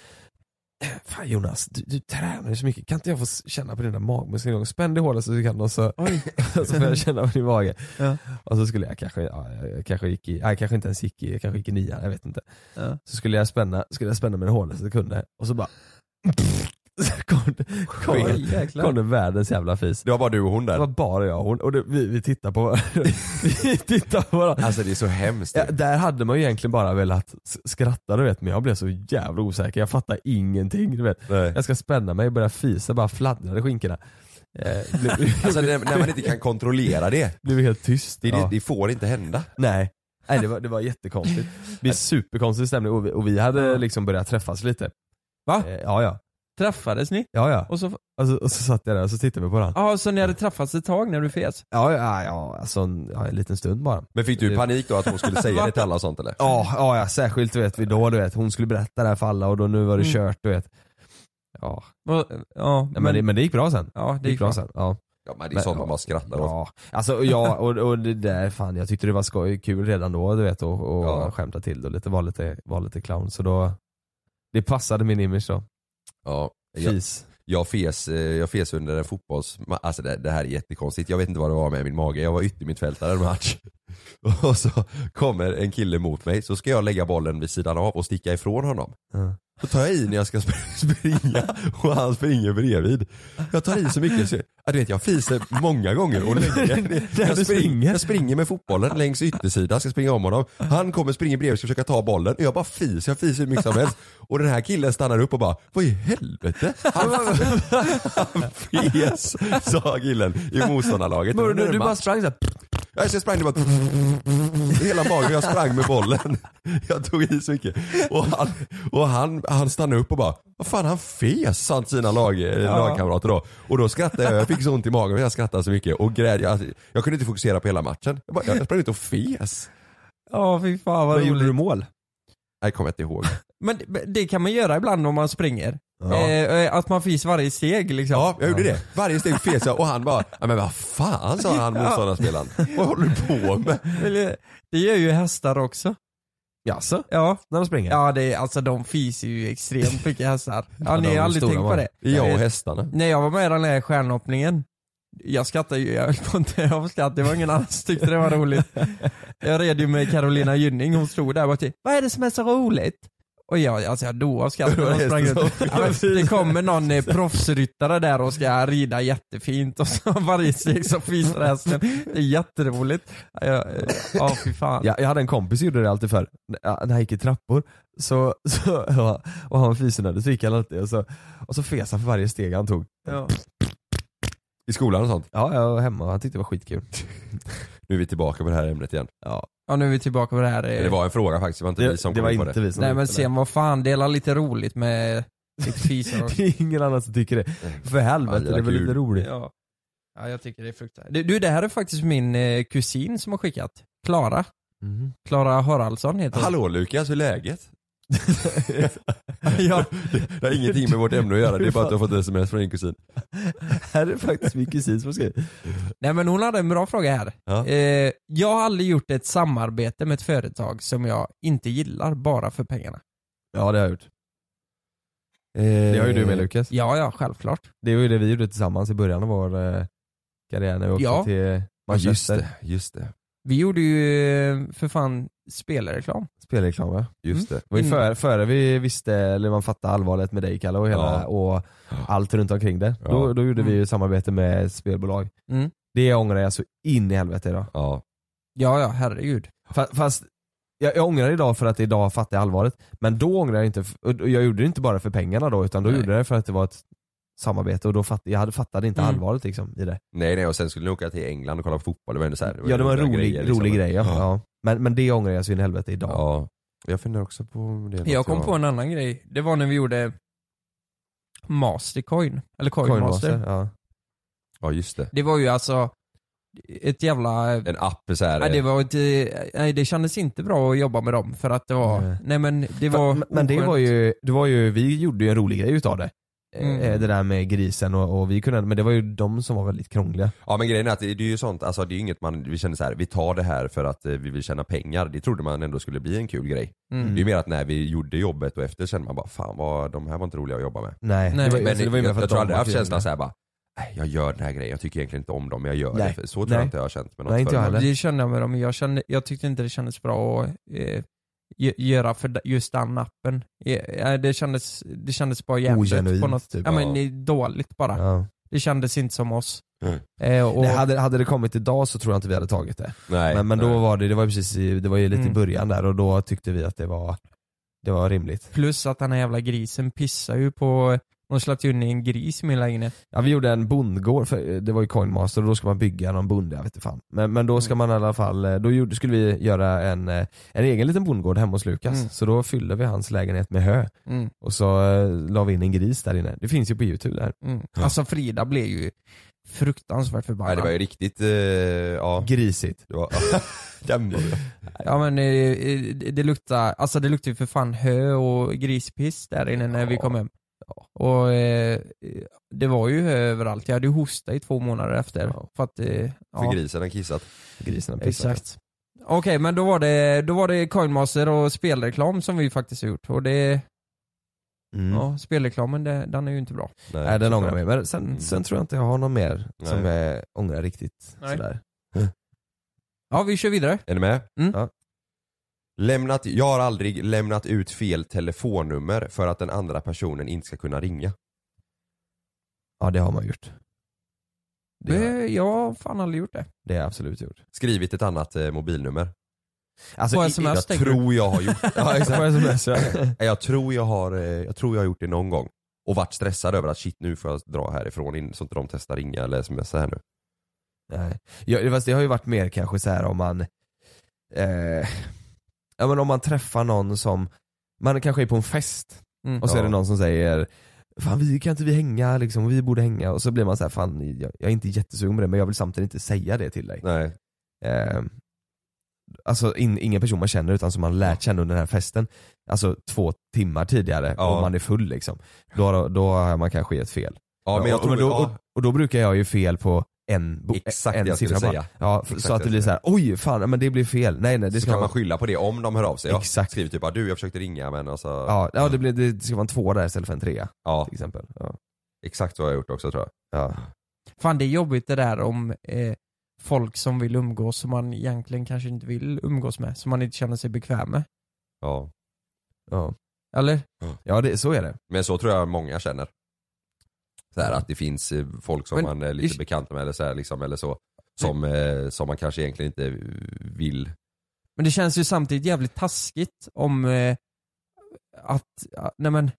Speaker 5: Fan Jonas, du, du tränar ju så mycket, kan inte jag få s- känna på dina magmuskler en gång? Spänn dig hårdast du kan och så, så får jag känna på din mage.
Speaker 4: Ja.
Speaker 5: Och så skulle jag kanske, ja, jag kanske gick i, nej kanske inte ens gick i, jag kanske gick i nian, jag vet inte.
Speaker 4: Ja.
Speaker 5: Så skulle jag spänna, skulle jag spänna mig det hårdaste jag kunde och så bara Så kom det, kom,
Speaker 4: Oj,
Speaker 5: det,
Speaker 4: jäklar.
Speaker 5: kom det världens jävla fis.
Speaker 3: Det var bara du och hon
Speaker 5: Det var
Speaker 3: där.
Speaker 5: bara jag och hon. Och det, vi, vi tittade på varandra. vi tittade på varandra.
Speaker 3: Alltså det är så hemskt.
Speaker 5: Ja, där hade man ju egentligen bara velat s- skratta du vet, men jag blev så jävla osäker. Jag fattar ingenting du vet.
Speaker 3: Nej.
Speaker 5: Jag ska spänna mig och börja fisa, bara fladdrar i skinkorna. Eh, blev,
Speaker 3: Alltså när, när man inte kan kontrollera det.
Speaker 5: blev helt tyst.
Speaker 3: Det,
Speaker 5: Ja.
Speaker 3: det, det får inte hända.
Speaker 5: Nej. Nej det var, det var jättekonstigt. Det är superkonstig stämning och vi, och vi hade liksom börjat träffas lite.
Speaker 4: Va?
Speaker 5: Eh, ja ja.
Speaker 4: Träffades ni?
Speaker 5: Ja ja.
Speaker 4: Och så,
Speaker 5: Alltså, och så satt jag där och så tittade vi på varandra.
Speaker 4: ah, så ni hade träffats ett tag när du fes?
Speaker 5: Ja ja, ja alltså en, ja, en liten stund bara.
Speaker 3: Men fick du panik då att hon skulle säga det till alla och sånt eller?
Speaker 5: Ja, ja, ja särskilt du vet vi då du vet, hon skulle berätta det här för alla och då nu var det
Speaker 4: Mm.
Speaker 5: kört du vet. Ja,
Speaker 4: Ja, ja
Speaker 5: Nej, men, det, men det gick bra sen.
Speaker 4: ja,
Speaker 5: Det gick bra sen. Ja.
Speaker 3: Ja, men det är sånt man bara skrattar åt.
Speaker 5: Ja, alltså och jag och, och det där, fan jag tyckte det var skoj, kul redan då du vet och, och
Speaker 3: Ja.
Speaker 5: skämta till det och lite, var lite, var lite clown så då Det passade min image då,
Speaker 3: Ja. Jag,
Speaker 5: fis.
Speaker 3: jag, fes, eh, jag fes under en fotbolls... Alltså det, det här är jättekonstigt. Jag vet inte vad det var med min mage. Jag var yttermittfältare en match. Och så kommer en kille mot mig så ska jag lägga bollen vid sidan av och sticka ifrån honom.
Speaker 5: Ja.
Speaker 3: Då tar jag i när jag ska sp- springa och han springer bredvid. Jag tar i så mycket så, ja, du vet jag fiser många gånger och länge. Jag,
Speaker 5: du springer.
Speaker 3: springer. jag springer med fotbollen längs yttersidan, ska springa om honom. Han kommer, springer bredvid, ska försöka ta bollen och jag bara fiser, jag fiser hur mycket som helst. Och den här killen stannar upp och bara, vad i helvete? Han, han fes, sa killen i motståndarlaget.
Speaker 5: Du,
Speaker 3: Under
Speaker 5: du,
Speaker 3: en
Speaker 5: bara
Speaker 3: match.
Speaker 5: sprang såhär,
Speaker 3: Ja, så Jag sprang, det bara... Hela magen, jag sprang med bollen. Jag tog i så mycket. Och han, och han, han stannade upp och bara, vad fan han fes, sa till sina lag, eh, lagkamrater då. Och då skrattade jag, jag fick så ont i magen, jag skrattade så mycket och grät. Jag, jag kunde inte fokusera på hela matchen. Jag, bara, jag sprang ut och fes.
Speaker 4: Ja, fy fan vad
Speaker 5: Men
Speaker 4: roligt.
Speaker 5: gjorde du
Speaker 4: mål?
Speaker 3: Nej, kommer jag inte ihåg.
Speaker 4: Men det- men det kan man göra ibland om man springer. Eh, eh, att man fiser varje steg liksom.
Speaker 3: Ja, jag gjorde det. Varje steg fes jag och han bara, "Ja, men vad fan sa han motståndarspelaren. Vad håller du på med?
Speaker 4: Eller, Det gör ju hästar också.
Speaker 5: jaså?
Speaker 4: Ja.
Speaker 5: När de springer?
Speaker 4: Ja, det är, alltså de fiser ju extremt mycket hästar. Ja, ni
Speaker 5: de
Speaker 4: har
Speaker 5: är
Speaker 4: aldrig
Speaker 5: stora
Speaker 4: tänkt på
Speaker 5: var
Speaker 4: det?
Speaker 5: de.
Speaker 3: Jag och
Speaker 4: Eh,
Speaker 3: hästarna.
Speaker 4: När jag var med i den här stjärnhoppningen, jag skrattade ju, jag höll på inte av skratt, det var ingen annan som tyckte det var roligt. Jag red ju med Carolina Gynning, hon stod där och bara typ, vad är det som är så roligt? Och jag, alltså jag dog av skratt när hon sprang runt. Ja, men Det kommer någon eh, proffsryttare där och ska rida jättefint och så varje steg så fiser hästen. Det är jätteroligt. Ja, jag- eh, Ja, fy fan.
Speaker 5: Jag, jag hade en kompis som gjorde det alltid förr, när när han gick i trappor så, så, och han fisnade så gick han alltid och så, och så fes han för varje steg han tog.
Speaker 4: Ja.
Speaker 3: I skolan och sånt.
Speaker 5: Ja, jag var hemma och han tyckte det var skitkul.
Speaker 3: Nu är vi tillbaka på det här ämnet igen.
Speaker 4: Ja, nu är vi tillbaka på det här. eh,
Speaker 3: Det var en fråga faktiskt, det var inte vi som
Speaker 5: det
Speaker 3: kom
Speaker 5: var
Speaker 3: in på
Speaker 5: inte
Speaker 3: det.
Speaker 5: vi som
Speaker 4: Nej men
Speaker 5: hittade det.
Speaker 4: sen vad fan, dela lite roligt med sitt fis och...
Speaker 5: Det är ingen annan som tycker det. För helvete,
Speaker 3: Ja, det
Speaker 5: det är väl
Speaker 3: kul.
Speaker 5: lite roligt.
Speaker 4: ja. ja, jag tycker det är fruktansvärt. Du, du, det här är faktiskt min eh, kusin som har skickat. Klara. Mhm.
Speaker 5: Mm.
Speaker 4: Klara Haraldsson heter hon.
Speaker 3: Hallå Lukas, hur är läget?
Speaker 4: ja.
Speaker 3: Det har ingenting med vårt ämne att göra, det är bara att du har fått ett sms från din kusin.
Speaker 5: Här är faktiskt min kusin som skriver.
Speaker 4: Nej men hon hade en bra fråga här.
Speaker 3: Ja.
Speaker 4: Eh, jag har aldrig gjort ett samarbete med ett företag som jag inte gillar bara för pengarna.
Speaker 5: Ja det har jag gjort. Det har ju du med Lukas.
Speaker 4: Ja, ja, självklart.
Speaker 5: Eh, Det var ju det vi gjorde tillsammans i början av vår eh, karriär när vi åkte
Speaker 4: Ja.
Speaker 5: till
Speaker 3: Ja, Just
Speaker 5: Manchester.
Speaker 3: det, just det.
Speaker 4: Vi gjorde ju eh, för fan spelreklam.
Speaker 5: Spelreklam va?
Speaker 3: Just det.
Speaker 5: Det var ju
Speaker 4: Mm.
Speaker 5: före, före vi visste, eller man fattade allvaret med dig Kalle och, hela,
Speaker 3: Ja.
Speaker 5: och allt runt omkring det. Då,
Speaker 3: Ja.
Speaker 5: då gjorde vi
Speaker 4: Mm.
Speaker 5: ju samarbete med ett spelbolag.
Speaker 4: Mm.
Speaker 5: Det ångrar jag så in i helvete idag.
Speaker 3: Ja.
Speaker 4: Ja, ja, herregud.
Speaker 5: Fa- Fast jag, jag ångrar idag för att idag fattar jag allvaret. Men då ångrar jag inte, f- och jag gjorde det inte bara för pengarna då utan då
Speaker 4: Nej.
Speaker 5: gjorde jag det för att det var ett samarbete och då fatt, jag hade, fattade inte
Speaker 4: Mm.
Speaker 5: allvaret liksom i det.
Speaker 3: Nej nej, och sen skulle ni åka till England och kolla på fotboll, det var ändå så här,
Speaker 5: ja det var en
Speaker 3: några
Speaker 5: rolig,
Speaker 3: grejer, liksom.
Speaker 5: rolig grej ja. ja. Men, men det ångrar jag så in i helvete idag.
Speaker 3: ja. Jag funderar också på det.
Speaker 4: Jag kom på en annan grej. Det var när vi gjorde Mastercoin. Eller Coinmaster.
Speaker 5: Coinmaster, ja.
Speaker 3: Ja just det.
Speaker 4: Det var ju alltså ett jävla...
Speaker 3: En app så här.
Speaker 4: Nej, det var ett, eh, nej det kändes inte bra att jobba med dem för att det var...
Speaker 5: Nej.
Speaker 4: Nej, men det var...
Speaker 5: men, men det
Speaker 4: oskönt.
Speaker 5: var ju, det var ju, vi gjorde ju en rolig grej utav det.
Speaker 4: Mm.
Speaker 5: Eh, Det där med grisen och, och vi kunde, men det var ju de som var väldigt krångliga.
Speaker 3: Ja men grejen är att det, det är ju sånt, alltså det är ju inget man, vi känner så här, vi tar det här för att eh, vi vill tjäna pengar. Det trodde man ändå skulle bli en kul grej.
Speaker 4: Mm.
Speaker 3: Det är ju mer att när vi gjorde jobbet och efter kände man bara fan vad, de här var inte roliga att jobba med.
Speaker 5: Nej,
Speaker 4: Nej.
Speaker 5: det var, ju-
Speaker 4: Men
Speaker 3: Men
Speaker 5: så det var ju
Speaker 3: jag,
Speaker 5: mer för
Speaker 3: jag
Speaker 5: att
Speaker 3: tror
Speaker 5: de
Speaker 3: aldrig jag
Speaker 5: var
Speaker 3: haft känslan
Speaker 5: krångliga.
Speaker 3: såhär bara, "Nej, jag gör den här grejen, jag tycker egentligen inte om dem, men jag gör
Speaker 5: Nej.
Speaker 3: det. För Så tror
Speaker 5: Nej.
Speaker 3: jag inte jag har känt med något
Speaker 5: Nej, inte jag
Speaker 3: företag.
Speaker 5: heller.
Speaker 4: Det kände jag med dem, jag, kände, jag tyckte inte det kändes bra att eh, gö- göra för d- just den appen. Eh, Det kändes, det kändes bara jävligt
Speaker 7: Ogenuint,
Speaker 4: på något.
Speaker 7: typ,
Speaker 4: ja, men
Speaker 7: ja.
Speaker 4: det är dåligt bara.
Speaker 5: Ja.
Speaker 4: Det kändes inte som oss.
Speaker 3: Mm.
Speaker 4: Eh, och,
Speaker 5: Nej, hade, hade det kommit idag så tror jag inte vi hade tagit det.
Speaker 3: Nej.
Speaker 5: men men då var det, det var ju precis i, det var ju lite i
Speaker 4: Mm.
Speaker 5: början där och då tyckte vi att det var, det var rimligt.
Speaker 4: Plus att den här jävla grisen pissar ju på, de släppte ju in en gris i min lägenhet.
Speaker 5: Ja, vi gjorde en bondgård, för, eh, det var ju coinmaster och då ska man bygga någon bonde, jag vet inte fan. Men, men
Speaker 3: Mm.
Speaker 5: då ska man i alla fall, eh, då gjorde, skulle vi göra en, eh, en egen liten bondgård hemma hos Lukas.
Speaker 4: Mm.
Speaker 5: Så då fyllde vi hans lägenhet med hö
Speaker 4: Mm,
Speaker 5: och så eh, la vi in en gris där inne. Det finns ju på youtube där.
Speaker 4: mm. Alltså Frida blev ju fruktansvärt
Speaker 3: Nej,
Speaker 4: förbannad.
Speaker 3: det var ju riktigt, eh, ja.
Speaker 5: Grisigt.
Speaker 3: Det var, den var det.
Speaker 4: Ja men eh, eh, det det luktar, alltså det luktar ju för fan hö och grispiss där inne när vi kom hem. Och eh, det var ju hö överallt, jag hade ju hosta i två månader efter. För att, eh,
Speaker 3: För
Speaker 4: ja,
Speaker 3: grisen har kissat.
Speaker 5: Grisen har pissat.
Speaker 4: exakt. Okej men då var, det, då var det Coinmaster och spelreklam som vi faktiskt har gjort och det,
Speaker 5: Mm.
Speaker 4: ja spelreklamen det, den är ju inte bra.
Speaker 3: Nej,
Speaker 5: Nej, den
Speaker 3: såklart. Mm.
Speaker 5: ångrar jag mig. Men sen, sen tror jag inte jag har någon mer som
Speaker 3: Nej.
Speaker 5: jag ångrar riktigt
Speaker 4: Nej.
Speaker 5: sådär.
Speaker 4: Ja vi kör vidare.
Speaker 3: Är ni med?
Speaker 4: Mm.
Speaker 5: Ja.
Speaker 3: Lämnat, jag har aldrig lämnat ut fel telefonnummer för att den andra personen inte ska kunna ringa.
Speaker 5: Ja det har man gjort. Det, har-
Speaker 4: Det, jag har fan aldrig gjort det.
Speaker 5: det har jag absolut gjort.
Speaker 3: Skrivit ett annat eh, mobilnummer.
Speaker 5: Alltså,
Speaker 4: På
Speaker 5: i-
Speaker 4: sms
Speaker 3: Jag
Speaker 4: tänker du?
Speaker 3: tror jag har gjort ja, exakt.
Speaker 5: På sms ja.
Speaker 3: Nej, Jag tror jag har, eh, jag tror jag har gjort det någon gång. Och varit stressad över att shit nu får jag dra härifrån in, så inte de testar ringa eller smsa här nu.
Speaker 5: Nej. Ja, fast det har ju varit mer kanske så här om man eh, Ja men om man träffar någon som Man kanske är på en fest
Speaker 4: Mm.
Speaker 5: och så är det
Speaker 3: Ja.
Speaker 5: någon som säger Fan vi kan inte vi hänga liksom, vi borde hänga och så blir man så här, fan jag, jag är inte jättesugen på det men jag vill samtidigt inte säga det till dig.
Speaker 3: Nej.
Speaker 5: Eh, alltså in, ingen person man känner utan som man lärt känna under den här festen. Alltså två timmar tidigare
Speaker 3: Ja.
Speaker 5: och man är full liksom. Då, då har man kanske gett fel.
Speaker 3: Ja men jag
Speaker 5: och,
Speaker 3: tror
Speaker 5: men då,
Speaker 3: ja,
Speaker 5: och, och då brukar jag ju fel på en, bo-
Speaker 3: Exakt det
Speaker 5: en
Speaker 3: jag skulle
Speaker 5: siffra.
Speaker 3: säga.
Speaker 5: Bara, ja, f-
Speaker 3: Exakt
Speaker 5: så att
Speaker 3: det jag
Speaker 5: det blir så
Speaker 3: skulle
Speaker 5: här, oj fan, men det blev fel. Nej nej det
Speaker 3: så
Speaker 5: ska
Speaker 3: kan man
Speaker 5: vara
Speaker 3: skylla på det om de hör av sig.
Speaker 5: Exakt.
Speaker 3: Jag skriver typ bara du jag försökte ringa men alltså.
Speaker 5: Ja, ja det, blir, det ska vara en tvåa där istället för en trea
Speaker 3: Ja,
Speaker 5: till exempel. Ja.
Speaker 3: exakt så har jag gjort också tror jag.
Speaker 5: Ja.
Speaker 4: Fan det är jobbigt det där om eh, folk som vill umgås som man egentligen kanske inte vill umgås med, som man inte känner sig bekväm med.
Speaker 3: Ja.
Speaker 5: Ja.
Speaker 4: Eller?
Speaker 5: Ja det, så är det.
Speaker 3: Men så tror jag många känner. Så här, att det finns eh, folk som
Speaker 4: Men-
Speaker 3: man är lite bekant med eller så, här, liksom, eller så som, eh, som man kanske egentligen inte vill.
Speaker 4: Men det känns ju samtidigt jävligt taskigt om eh, att, ja, nej men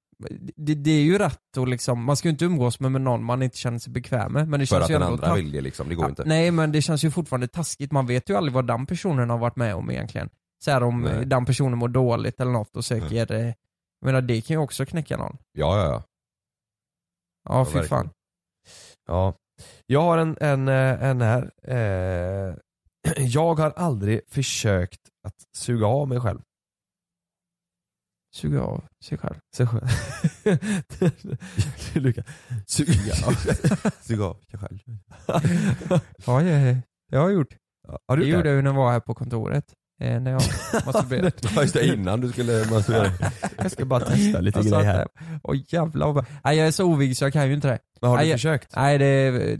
Speaker 4: det, det är ju rätt och liksom, man ska ju inte umgås med, med någon man inte känner sig bekväm med. Men det
Speaker 3: För
Speaker 4: känns
Speaker 3: att
Speaker 4: ju
Speaker 3: den
Speaker 4: ändå
Speaker 3: andra
Speaker 4: tas-
Speaker 3: vill det liksom, det går
Speaker 4: Ja,
Speaker 3: inte.
Speaker 4: Nej men det känns ju fortfarande taskigt, man vet ju aldrig vad den personen har varit med om egentligen. Så här om
Speaker 3: Nej. Mm.
Speaker 4: eh, den personen mår dåligt eller något och söker, eh, jag menar det kan ju också knäcka någon.
Speaker 3: Ja ja ja.
Speaker 4: Ja fy
Speaker 3: verkligen.
Speaker 4: fan.
Speaker 5: Ja. Jag har en, en, eh, en här. Eh, jag har aldrig försökt att suga av mig själv.
Speaker 4: Suga av sig själv.
Speaker 5: Sig själv. Luka. Suga av.
Speaker 3: Sug av dig själv.
Speaker 4: Ja, jag, jag har gjort.
Speaker 5: Har
Speaker 4: Det
Speaker 5: du gjort
Speaker 4: gjorde
Speaker 5: det?
Speaker 4: jag ju när jag var här på kontoret. Eh, när jag mastuberade.
Speaker 3: Ja just det, innan du skulle masturbera.
Speaker 5: Jag ska bara testa lite
Speaker 4: Jag satt
Speaker 5: grejer här.
Speaker 4: där. Åh jävlar vad... Nej jag är så ovig så jag kan ju inte det.
Speaker 5: Men har
Speaker 4: Nej,
Speaker 5: du
Speaker 4: jag-
Speaker 5: försökt?
Speaker 4: Nej det...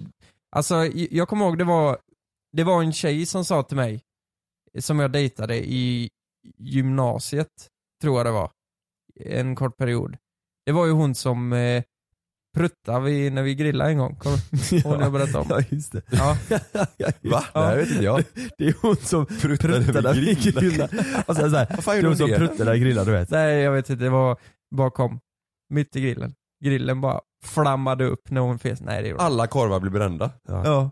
Speaker 4: Alltså j- jag kommer ihåg det var... Det var en tjej som sa till mig, som jag dejtade i gymnasiet, tror jag det var. En kort period. Det var ju hon som eh, pruttade vid, när vi grillade en gång. Kommer hon jag berättade om?
Speaker 5: Ja just det.
Speaker 4: Ja.
Speaker 3: Va?
Speaker 5: Ja.
Speaker 3: Nej vet inte jag.
Speaker 5: Det är hon som pruttar
Speaker 3: vid
Speaker 5: vid grillar. Och sen såhär,
Speaker 3: Vad fan
Speaker 5: det är
Speaker 3: gjorde
Speaker 5: hon
Speaker 3: hon
Speaker 5: som
Speaker 3: det?
Speaker 5: pruttar där grillar du vet.
Speaker 4: Nej jag vet inte, det var bakom, mitt i grillen. Grillen bara flammade upp när hon fes. Nej det gjorde
Speaker 3: Alla korvar blir brända.
Speaker 4: Ja.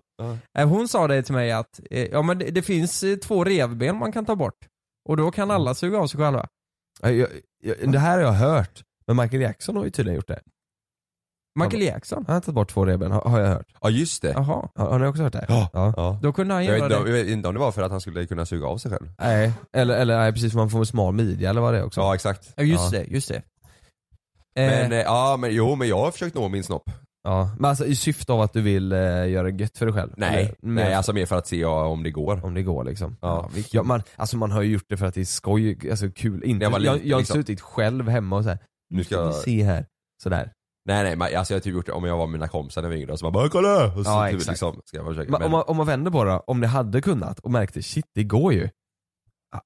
Speaker 4: Eh, Hon sa det till mig att eh, ja, men det, det finns eh, två revben man kan ta bort. Och då kan alla suga av sig själva.
Speaker 5: Ja, jag, jag, det här har jag hört. Men Michael Jackson har ju tydligen gjort det.
Speaker 4: Michael Jackson.
Speaker 5: Han har tagit bort två revben har, har jag hört.
Speaker 3: Ja just det.
Speaker 4: Jaha.
Speaker 5: Har, har ni också hört det?
Speaker 3: Ja.
Speaker 5: ja.
Speaker 3: Ja.
Speaker 4: Då kunde han
Speaker 3: Jag vet,
Speaker 4: göra
Speaker 3: inte,
Speaker 4: det.
Speaker 3: jag vet inte om det var för att han skulle kunna suga av sig själv.
Speaker 5: Nej, eller, eller nej, precis för man får en smal midja eller vad det är också.
Speaker 3: Ja exakt.
Speaker 4: Ja, just det, just det.
Speaker 3: Men,
Speaker 4: eh,
Speaker 3: eh, ja, men jo men jag har försökt nå min snopp.
Speaker 5: Ja, Men alltså i syfte av att du vill eh, göra det gött för dig själv.
Speaker 3: Nej,
Speaker 5: Eller, mer
Speaker 3: nej alltså mer för att se ja, om det går.
Speaker 5: Om det går liksom.
Speaker 3: Ja.
Speaker 5: Ja, man, alltså man har ju gjort det för att det är skoj, alltså kul. Inte,
Speaker 3: Jag
Speaker 5: jag,
Speaker 3: var
Speaker 5: jag,
Speaker 3: liten,
Speaker 5: har
Speaker 3: liksom.
Speaker 5: suttit själv hemma och så här.
Speaker 3: Nu ska jag...
Speaker 5: se här. Sådär.
Speaker 3: Nej nej, men, alltså jag har typ gjort det om jag var med mina kompisar när vi var yngre och så man bara kolla! Och så
Speaker 5: Ja,
Speaker 3: typ,
Speaker 5: exakt.
Speaker 3: liksom, ska jag försöka.
Speaker 5: Men,
Speaker 3: Men,
Speaker 5: om, man, om man vänder på det då, om ni hade kunnat och märkte shit det går ju.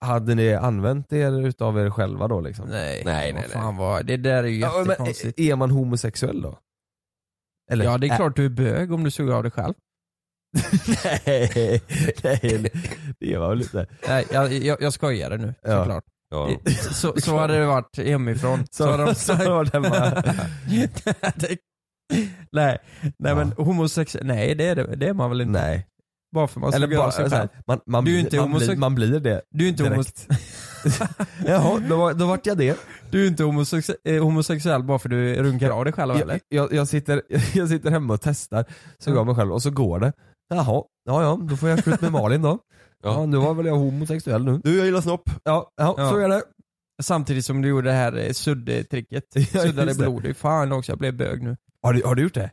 Speaker 5: Hade ni använt er utav er själva då liksom?
Speaker 4: Nej,
Speaker 3: Nej, nej,
Speaker 4: vad fan vad, det där är ju
Speaker 5: Ja, men, eh,
Speaker 4: jättekonstigt.
Speaker 5: är man homosexuell då? Eller? eh.
Speaker 4: Ja, det är klart du är bög om du suger av dig själv.
Speaker 5: nej, nej, det är man väl inte?
Speaker 4: Nej, jag, jag, jag skojade nu
Speaker 5: Ja.
Speaker 4: såklart.
Speaker 3: Ja.
Speaker 4: Så, så hade det varit hemifrån. Så hade de
Speaker 5: Så
Speaker 4: sagt,
Speaker 5: var det hemma.
Speaker 4: Det- nej, nej
Speaker 5: Ja.
Speaker 4: men homosexuell, nej det är, det, det är man väl inte.
Speaker 5: Nej.
Speaker 4: Bara för man
Speaker 5: Eller
Speaker 4: suger av
Speaker 5: bara
Speaker 4: sig
Speaker 5: så här,
Speaker 4: själv.
Speaker 5: man, man,
Speaker 4: Du är
Speaker 5: blir-
Speaker 4: inte
Speaker 5: man, blir,
Speaker 4: homosex-
Speaker 5: man blir det.
Speaker 4: Du är inte, homose-
Speaker 5: direkt. Jaha, då, var, då vart jag det.
Speaker 4: du är inte homosex- eh, homosexuell bara för du runkar av dig själv eller?
Speaker 5: Jag, jag, jag, sitter, jag sitter hemma och testar, så går jag mig själv och så går det. Jaha, ja ja, då får jag slut med Malin då. Ja, nu var väl jag homosexuell nu.
Speaker 3: Du jag gillar snopp.
Speaker 5: Ja, ja,
Speaker 4: Ja.
Speaker 5: så är det.
Speaker 4: Samtidigt som du gjorde det här eh, suddetricket. Suddade
Speaker 5: just det.
Speaker 4: blod. i. Fan också, jag blev bög nu.
Speaker 5: Har du, har du gjort det?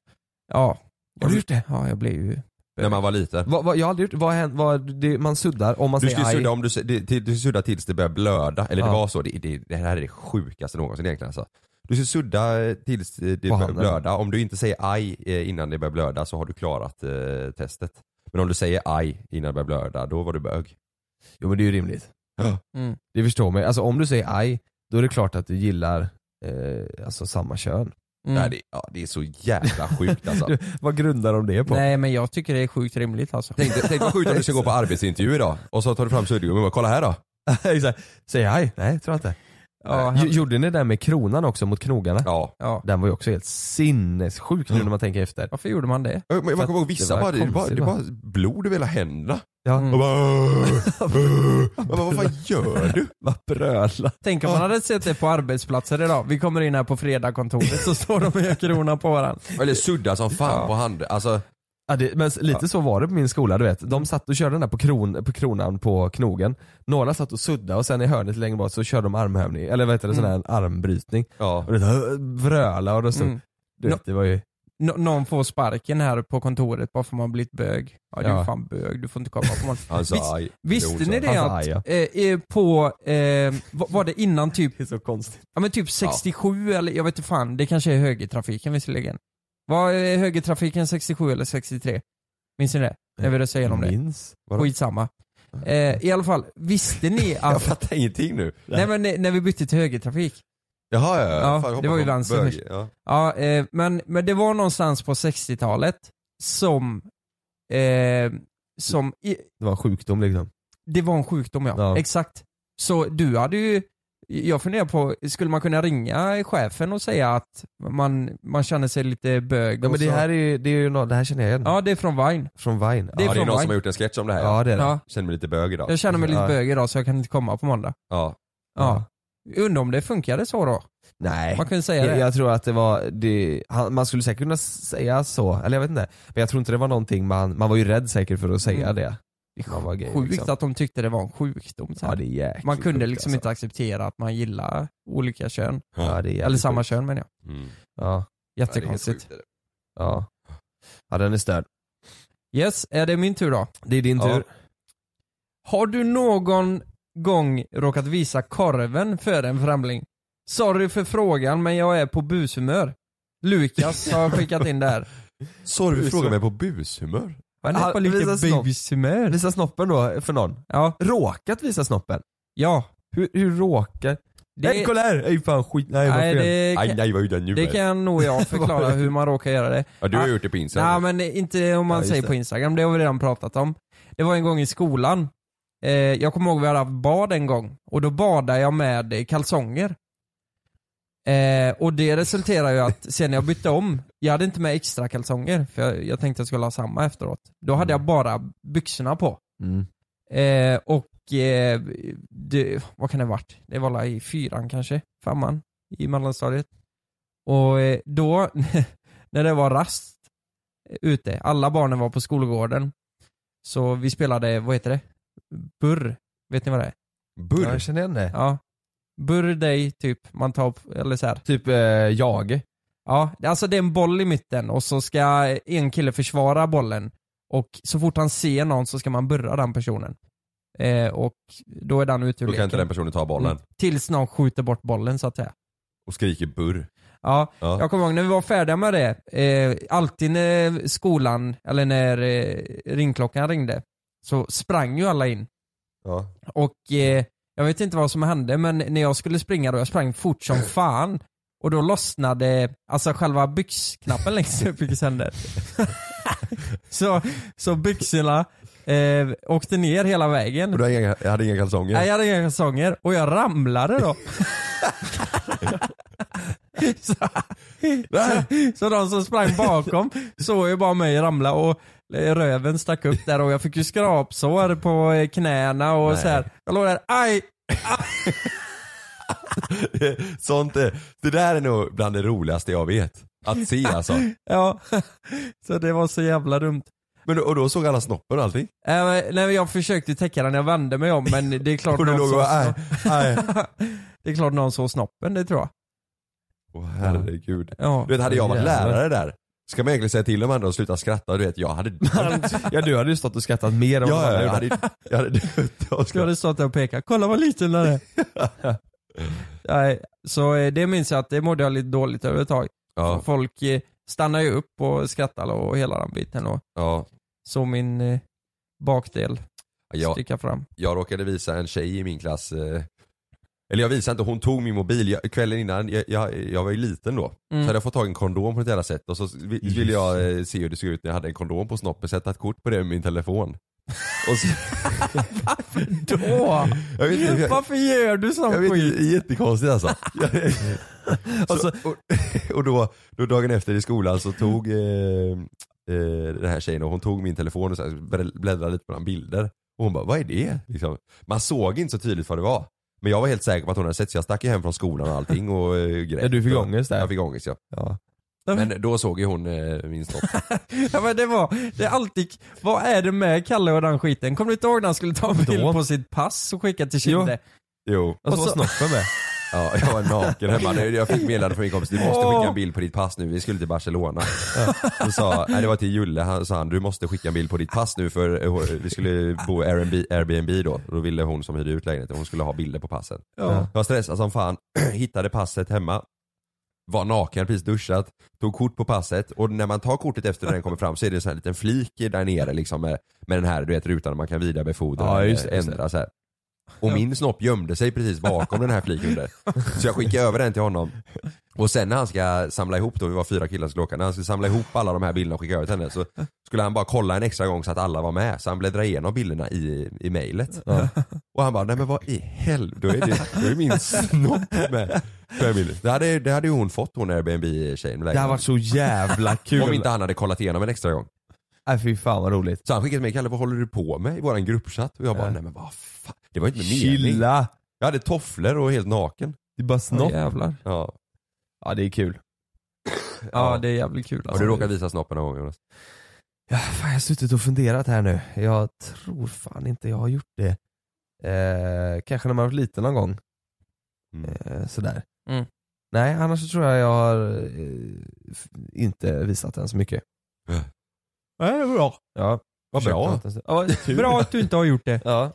Speaker 4: Ja.
Speaker 5: Har du gjort det?
Speaker 4: Ja, jag blev ju... Mm.
Speaker 3: När man var liten.
Speaker 5: Vad, vad, jag har aldrig gjort vad, händer- vad, det, man suddar om man
Speaker 3: Du
Speaker 5: säger
Speaker 3: ska
Speaker 5: aj.
Speaker 3: sudda, om du, s- det- till- du ska sudda tills det börjar blöda. Eller
Speaker 5: Ja.
Speaker 3: det var så. Det, det, det här är det sjukaste någonsin egentligen alltså. Du ska sudda eh, tills eh, det
Speaker 5: På
Speaker 3: börjar
Speaker 5: handen.
Speaker 3: blöda. Om du inte säger aj eh, innan det börjar blöda så har du klarat eh, testet. Men om du säger aj innan det börjar blöda, då var du bög.
Speaker 5: Jo men det är ju rimligt.
Speaker 4: Mm.
Speaker 5: Det förstår man ju. Alltså om du säger aj, då är det klart att du gillar eh, alltså samma kön.
Speaker 4: Mm.
Speaker 3: Nej, det, ja, det är så jävla sjukt alltså.
Speaker 5: Du, vad grundar de det på?
Speaker 4: Nej men jag tycker det är sjukt rimligt alltså.
Speaker 3: Tänk, dig- tänk vad sjukt om du ska gå på arbetsintervju idag och så tar du fram suddgummin och bara kolla här då.
Speaker 5: Exakt. Säger aj? Nej, tror jag inte.
Speaker 4: Ja,
Speaker 5: Gj-
Speaker 4: han-
Speaker 5: Gjorde ni det där med kronan också mot knogarna?
Speaker 3: Ja.
Speaker 4: ja.
Speaker 5: Den var ju också helt sinnessjuk nu
Speaker 3: Ja.
Speaker 5: när man tänker efter.
Speaker 4: Varför gjorde man det?
Speaker 3: Men jag kommer ihåg vissa
Speaker 5: det
Speaker 3: bara,
Speaker 5: var
Speaker 3: det var, det
Speaker 5: konstigt,
Speaker 3: var blod över hela händerna.
Speaker 5: Ja.
Speaker 4: Mm.
Speaker 3: Och bara, "Åh, åh." Jag bara, vad fan gör du?
Speaker 5: Vad bröla.
Speaker 4: Tänk om man hade sett det på arbetsplatser idag. Vi kommer in här på fredagskontoret så står de och gör krona på varandra.
Speaker 3: Eller sudda som fan
Speaker 4: Ja.
Speaker 3: på handen. Alltså,
Speaker 5: Ja, Mm. det, men s- lite så var det på min skola, du vet. De satt och körde den där på, kron, på kronan på knogen. Några satt och suddade och sen i hörnet längre bort så körde de armhävning, eller vad heter det, sån här armbrytning.
Speaker 3: ja.
Speaker 5: Och det där, vröla och det stod,
Speaker 4: Mm.
Speaker 5: du vet, det var ju
Speaker 4: Nå- någon får sparken här på kontoret bara för man blivit bög. Ja, du är
Speaker 5: Ja.
Speaker 4: fan bög, du får inte komma på morgonen.
Speaker 3: Han sa
Speaker 4: Visst-
Speaker 3: aj.
Speaker 4: Visste ni det
Speaker 5: Hans
Speaker 4: att
Speaker 5: aj,
Speaker 4: eh, eh, på, eh, va- var det innan typ,
Speaker 5: så konstigt.
Speaker 4: ja, men typ 67 eller jag vet inte fan, det kanske är högertrafiken visserligen. Var eh, högertrafiken 67 eller 63? Minns ni det? När vi röstade igenom det.
Speaker 5: Minns.
Speaker 4: Skitsamma. Eh, I alla fall, visste ni
Speaker 3: Jag
Speaker 4: att,
Speaker 3: fattar ingenting nu.
Speaker 4: nej men eh, när vi bytte till högertrafik,
Speaker 3: Jaha ja,
Speaker 4: Ja,
Speaker 3: Fan, jag
Speaker 4: det var
Speaker 3: hoppas
Speaker 4: ju
Speaker 3: på
Speaker 4: vänster
Speaker 3: bög.
Speaker 4: först.
Speaker 3: Ja.
Speaker 4: Ja, eh, men, men det var någonstans på 60-talet som, eh, som i,
Speaker 5: Det var en sjukdom liksom.
Speaker 4: det var en sjukdom ja.
Speaker 5: Ja.
Speaker 4: Exakt. Så du hade ju, jag funderar på, skulle man kunna ringa chefen och säga att man, man känner sig lite
Speaker 5: Ja,
Speaker 4: bög? och
Speaker 5: men det
Speaker 4: så-
Speaker 5: här, är ju, det, är ju nå- det här känner jag igen.
Speaker 4: Ja, det är från Vine.
Speaker 5: Från Vine.
Speaker 4: Det är
Speaker 3: ja, det är
Speaker 4: från
Speaker 3: någon som
Speaker 4: Vine.
Speaker 3: har gjort en sketch om det här.
Speaker 5: Ja, det är det.
Speaker 4: Ja.
Speaker 3: Känner mig lite bög idag.
Speaker 4: Jag känner mig lite
Speaker 5: Ja.
Speaker 4: bög idag så jag kan inte komma på måndag.
Speaker 3: Ja.
Speaker 4: Ja. Undrar om det funkade så då?
Speaker 5: Nej.
Speaker 4: Man kunde säga
Speaker 5: Jag,
Speaker 4: det.
Speaker 5: jag tror att det var, det, han, man skulle säkert kunna säga så, eller jag vet inte. Men jag tror inte det var någonting man, man var ju rädd säkert för att säga
Speaker 4: Mm.
Speaker 5: det.
Speaker 4: Det
Speaker 5: Man var
Speaker 4: är
Speaker 5: gay,
Speaker 4: sjukt
Speaker 5: liksom.
Speaker 4: att de tyckte det var en sjukdom. Så
Speaker 5: Ja
Speaker 4: här.
Speaker 5: det är jäkligt
Speaker 4: Man kunde
Speaker 5: sjukt,
Speaker 4: liksom
Speaker 5: alltså.
Speaker 4: inte acceptera att man gillar olika kön.
Speaker 5: Ja, det är jävligt
Speaker 4: Eller samma
Speaker 5: sjukt.
Speaker 4: kön menar jag.
Speaker 3: Mm.
Speaker 5: Ja,
Speaker 4: Jättekonstigt.
Speaker 5: ja. ja den är störd.
Speaker 4: yes, är det min tur då?
Speaker 5: Det är din
Speaker 4: Ja.
Speaker 5: tur.
Speaker 4: Har du någon gång råkat visa korven för en främling? Sorry för frågan men jag är på bushumör. Lukas har skickat in det här.
Speaker 3: Sorry, du frågar mig på bushumör.
Speaker 4: Han är på
Speaker 5: Han
Speaker 4: lite
Speaker 5: visar snopp.
Speaker 4: babyshumör.
Speaker 5: Visa snoppen då för någon.
Speaker 4: Ja,
Speaker 5: Råkat visa snoppen?
Speaker 4: ja.
Speaker 5: Hur, hur råkar?
Speaker 4: Det-
Speaker 5: Nej kolla här! Ej fan skit, nej vad
Speaker 4: Nej,
Speaker 5: fel.
Speaker 4: det,
Speaker 3: Aj,
Speaker 4: kan,
Speaker 3: nej vad gjorde jag nu?
Speaker 4: det kan nog jag förklara hur man råkar göra det.
Speaker 3: Ja, du har
Speaker 4: Ah,
Speaker 3: gjort det på
Speaker 4: Nej
Speaker 3: Instagram.
Speaker 4: men inte om
Speaker 5: Ja,
Speaker 4: man
Speaker 5: just
Speaker 4: säger
Speaker 5: det.
Speaker 4: på instagram, det har vi redan pratat om. Det var en gång i skolan, eh, jag kommer ihåg vi hade haft bad en gång och då badade jag med eh, kalsonger. Eh, och det resulterade ju att sen när jag bytte om, jag hade inte med extra kalsonger för jag, jag tänkte jag skulle ha samma efteråt. Då hade jag bara byxorna på.
Speaker 5: Mm.
Speaker 4: Eh, och eh, det, vad kan det ha varit? Det var väl i fyran kanske, femman i mellanstadiet. Och eh, då, när det var rast eh, ute, alla barnen var på skolgården. Så vi spelade, vad heter det? Burr. Vet ni vad det är?
Speaker 5: Ja,
Speaker 3: Burr.
Speaker 5: jag känner igen det.
Speaker 4: Ja. Burr dig, typ. Man tar, upp- eller så här.
Speaker 5: Typ eh, jag.
Speaker 4: Ja, det- alltså det är en boll i mitten och så ska en kille försvara bollen och så fort han ser någon så ska man burra den personen. Eh, och då är den ute ur
Speaker 3: Då kan inte den
Speaker 4: leken.
Speaker 3: personen ta bollen.
Speaker 4: Mm. Tills någon skjuter bort bollen så att säga.
Speaker 3: Och skriker burr.
Speaker 4: Ja,
Speaker 3: Ja.
Speaker 4: jag kommer ihåg när vi var färdiga med det, eh, alltid när skolan, eller när eh, ringklockan ringde, så sprang ju alla in
Speaker 3: Ja.
Speaker 4: Och eh, jag vet inte vad som hände men när jag skulle springa då, jag sprang fort som fan. Och då lossnade alltså själva byxknappen längst upp i händer. så, så byxorna eh, åkte ner hela vägen.
Speaker 3: Och du hade inga, jag hade inga kalsonger?
Speaker 4: Nej, jag hade inga kalsonger och jag ramlade då. så, så, så de som sprang bakom såg ju bara mig ramla och eh, röven stack upp där och jag fick ju skrapsår på eh, knäna och så här. Jag låg där, aj!
Speaker 3: Sånt är, det där är nog bland det roligaste jag vet. Att se alltså.
Speaker 4: Ja, så det var så jävla dumt.
Speaker 3: Men, då- och då såg alla snoppen och allting.
Speaker 4: Äh, men- nej, men jag försökte täcka den, jag vände mig om men det är klart
Speaker 3: Och du
Speaker 4: någon
Speaker 3: låg och
Speaker 4: såg
Speaker 3: bara, "Aj,
Speaker 4: snopp-
Speaker 3: aj.
Speaker 4: Det är klart någon såg snoppen, det tror jag.
Speaker 3: Åh herregud.
Speaker 4: Ja.
Speaker 3: Du vet, hade jag varit
Speaker 5: Jävlar.
Speaker 3: lärare där, ska man egentligen säga till de andra att sluta skratta? Du vet, jag hade
Speaker 5: Ja du hade ju stått och skrattat mer om vad
Speaker 3: Ja,
Speaker 5: alla
Speaker 3: jag
Speaker 5: gjorde.
Speaker 3: hade, jag hade dött av
Speaker 4: Du hade
Speaker 3: skratt.
Speaker 4: stått där och pekat, kolla vad liten den är. Nej, så eh, det minns jag att det mådde jag lite dåligt över ett tag.
Speaker 3: Ja,
Speaker 4: Folk eh, stannar ju upp och skrattar och hela den biten och
Speaker 3: ja.
Speaker 4: så min eh, bakdel
Speaker 3: Jag,
Speaker 4: sticka fram.
Speaker 3: jag råkade visa en tjej i min klass, eh, eller jag visade inte, hon tog min mobil jag, kvällen innan, jag, jag, jag var ju liten då. Så
Speaker 4: Mm.
Speaker 3: hade jag fått tag i en kondom på något jävla sätt och så vi- ville jag eh, se hur det såg ut när jag hade en kondom på snoppen, sätta ett kort på det med min telefon. Och så,
Speaker 4: Åh,
Speaker 3: jag vet inte, jag,
Speaker 4: varför gör du sån
Speaker 3: jag vet
Speaker 4: skit?
Speaker 3: inte, det är jättekonstigt alltså. Jag- så, och och då, då dagen efter i skolan så tog eh, eh, den här tjejen och hon tog min telefon och så här blä- bläddrade lite bland bilder. Och hon bara, vad är det? Liksom. Man såg inte så tydligt vad det var. Men jag var helt säker på att hon hade sett så jag stack ju hem från skolan och allting och eh, grät.
Speaker 5: Ja, du fick
Speaker 3: Och-
Speaker 5: ångest där.
Speaker 3: Jag fick ångest ja.
Speaker 5: Ja.
Speaker 3: Men då såg ju hon eh, min snopp.
Speaker 4: Ja, men det var, det är alltid, vad är det med Kalle och den skiten? Kommer du inte ihåg när han skulle ta en bild
Speaker 5: Då?
Speaker 4: på sitt pass och skicka till Kille?
Speaker 3: Jo.
Speaker 5: Och så var snoppen med.
Speaker 3: Ja, jag var naken hemma. Nu- Jag fick meddelande från min kompis, du måste skicka en bild på ditt pass nu, vi skulle till Barcelona. Då sa, nej det var till Julle, han sa han, du måste skicka en bild på ditt pass nu för eh, vi skulle bo Airbnb, Airbnb då. Då ville hon som hyrde ut lägenheten, hon skulle ha bilder på passet.
Speaker 4: Ja.
Speaker 3: Jag var stressad som fan, hittade passet hemma. Var naken, precis duschat, tog kort på passet och när man tar kortet efter när den kommer fram så är det en sån här liten flik där nere liksom med, med den här du vet, rutan man kan vidarebefordra
Speaker 5: Ja, just
Speaker 3: eller
Speaker 5: det, just det.
Speaker 3: ändra så här. Och min snopp gömde sig precis bakom den här fliken under. Så jag skickade över den till honom. Och sen när han ska samla ihop då, vi var fyra killar som skulle åka, när han skulle samla ihop alla de här bilderna och skicka över till henne så skulle han bara kolla en extra gång så att alla var med. Så han bläddrade igenom bilderna i, i mejlet. Och han bara, nej men vad i helvete, då är det då är min snopp med. på den här bilden. Det hade, det hade ju hon fått hon Airbnb-tjejen.
Speaker 5: Det här var så jävla kul.
Speaker 3: Om inte han hade kollat igenom en extra gång.
Speaker 5: Nej fy fan vad roligt.
Speaker 3: Så han skickade till mig, Kalle vad håller du på med i våran gruppchatt? Och jag bara,
Speaker 5: Ja.
Speaker 3: nej men vad fan. Det var ju inte meningen.
Speaker 5: Chilla!
Speaker 3: Jag hade tofflor och helt naken.
Speaker 5: Det är bara snopp.
Speaker 4: jävlar.
Speaker 3: Ja.
Speaker 5: Ja det är kul.
Speaker 4: Ja, det är jävligt kul
Speaker 3: Har
Speaker 4: alltså.
Speaker 3: du råkat visa snoppen någon gång Jonas?
Speaker 5: Ja, fan, jag har suttit och funderat här nu. Jag tror fan inte jag har gjort det. Eh, kanske när man var liten någon gång.
Speaker 3: Mm.
Speaker 5: Eh, sådär.
Speaker 4: Mm.
Speaker 5: Nej, annars så tror jag jag har eh, f- inte visat den så mycket.
Speaker 4: Ja, det är bra.
Speaker 5: Ja,
Speaker 3: Vad
Speaker 5: försökt
Speaker 3: bra.
Speaker 5: något en stund. Ja, tur.
Speaker 4: Bra att du inte har gjort det.
Speaker 5: Ja.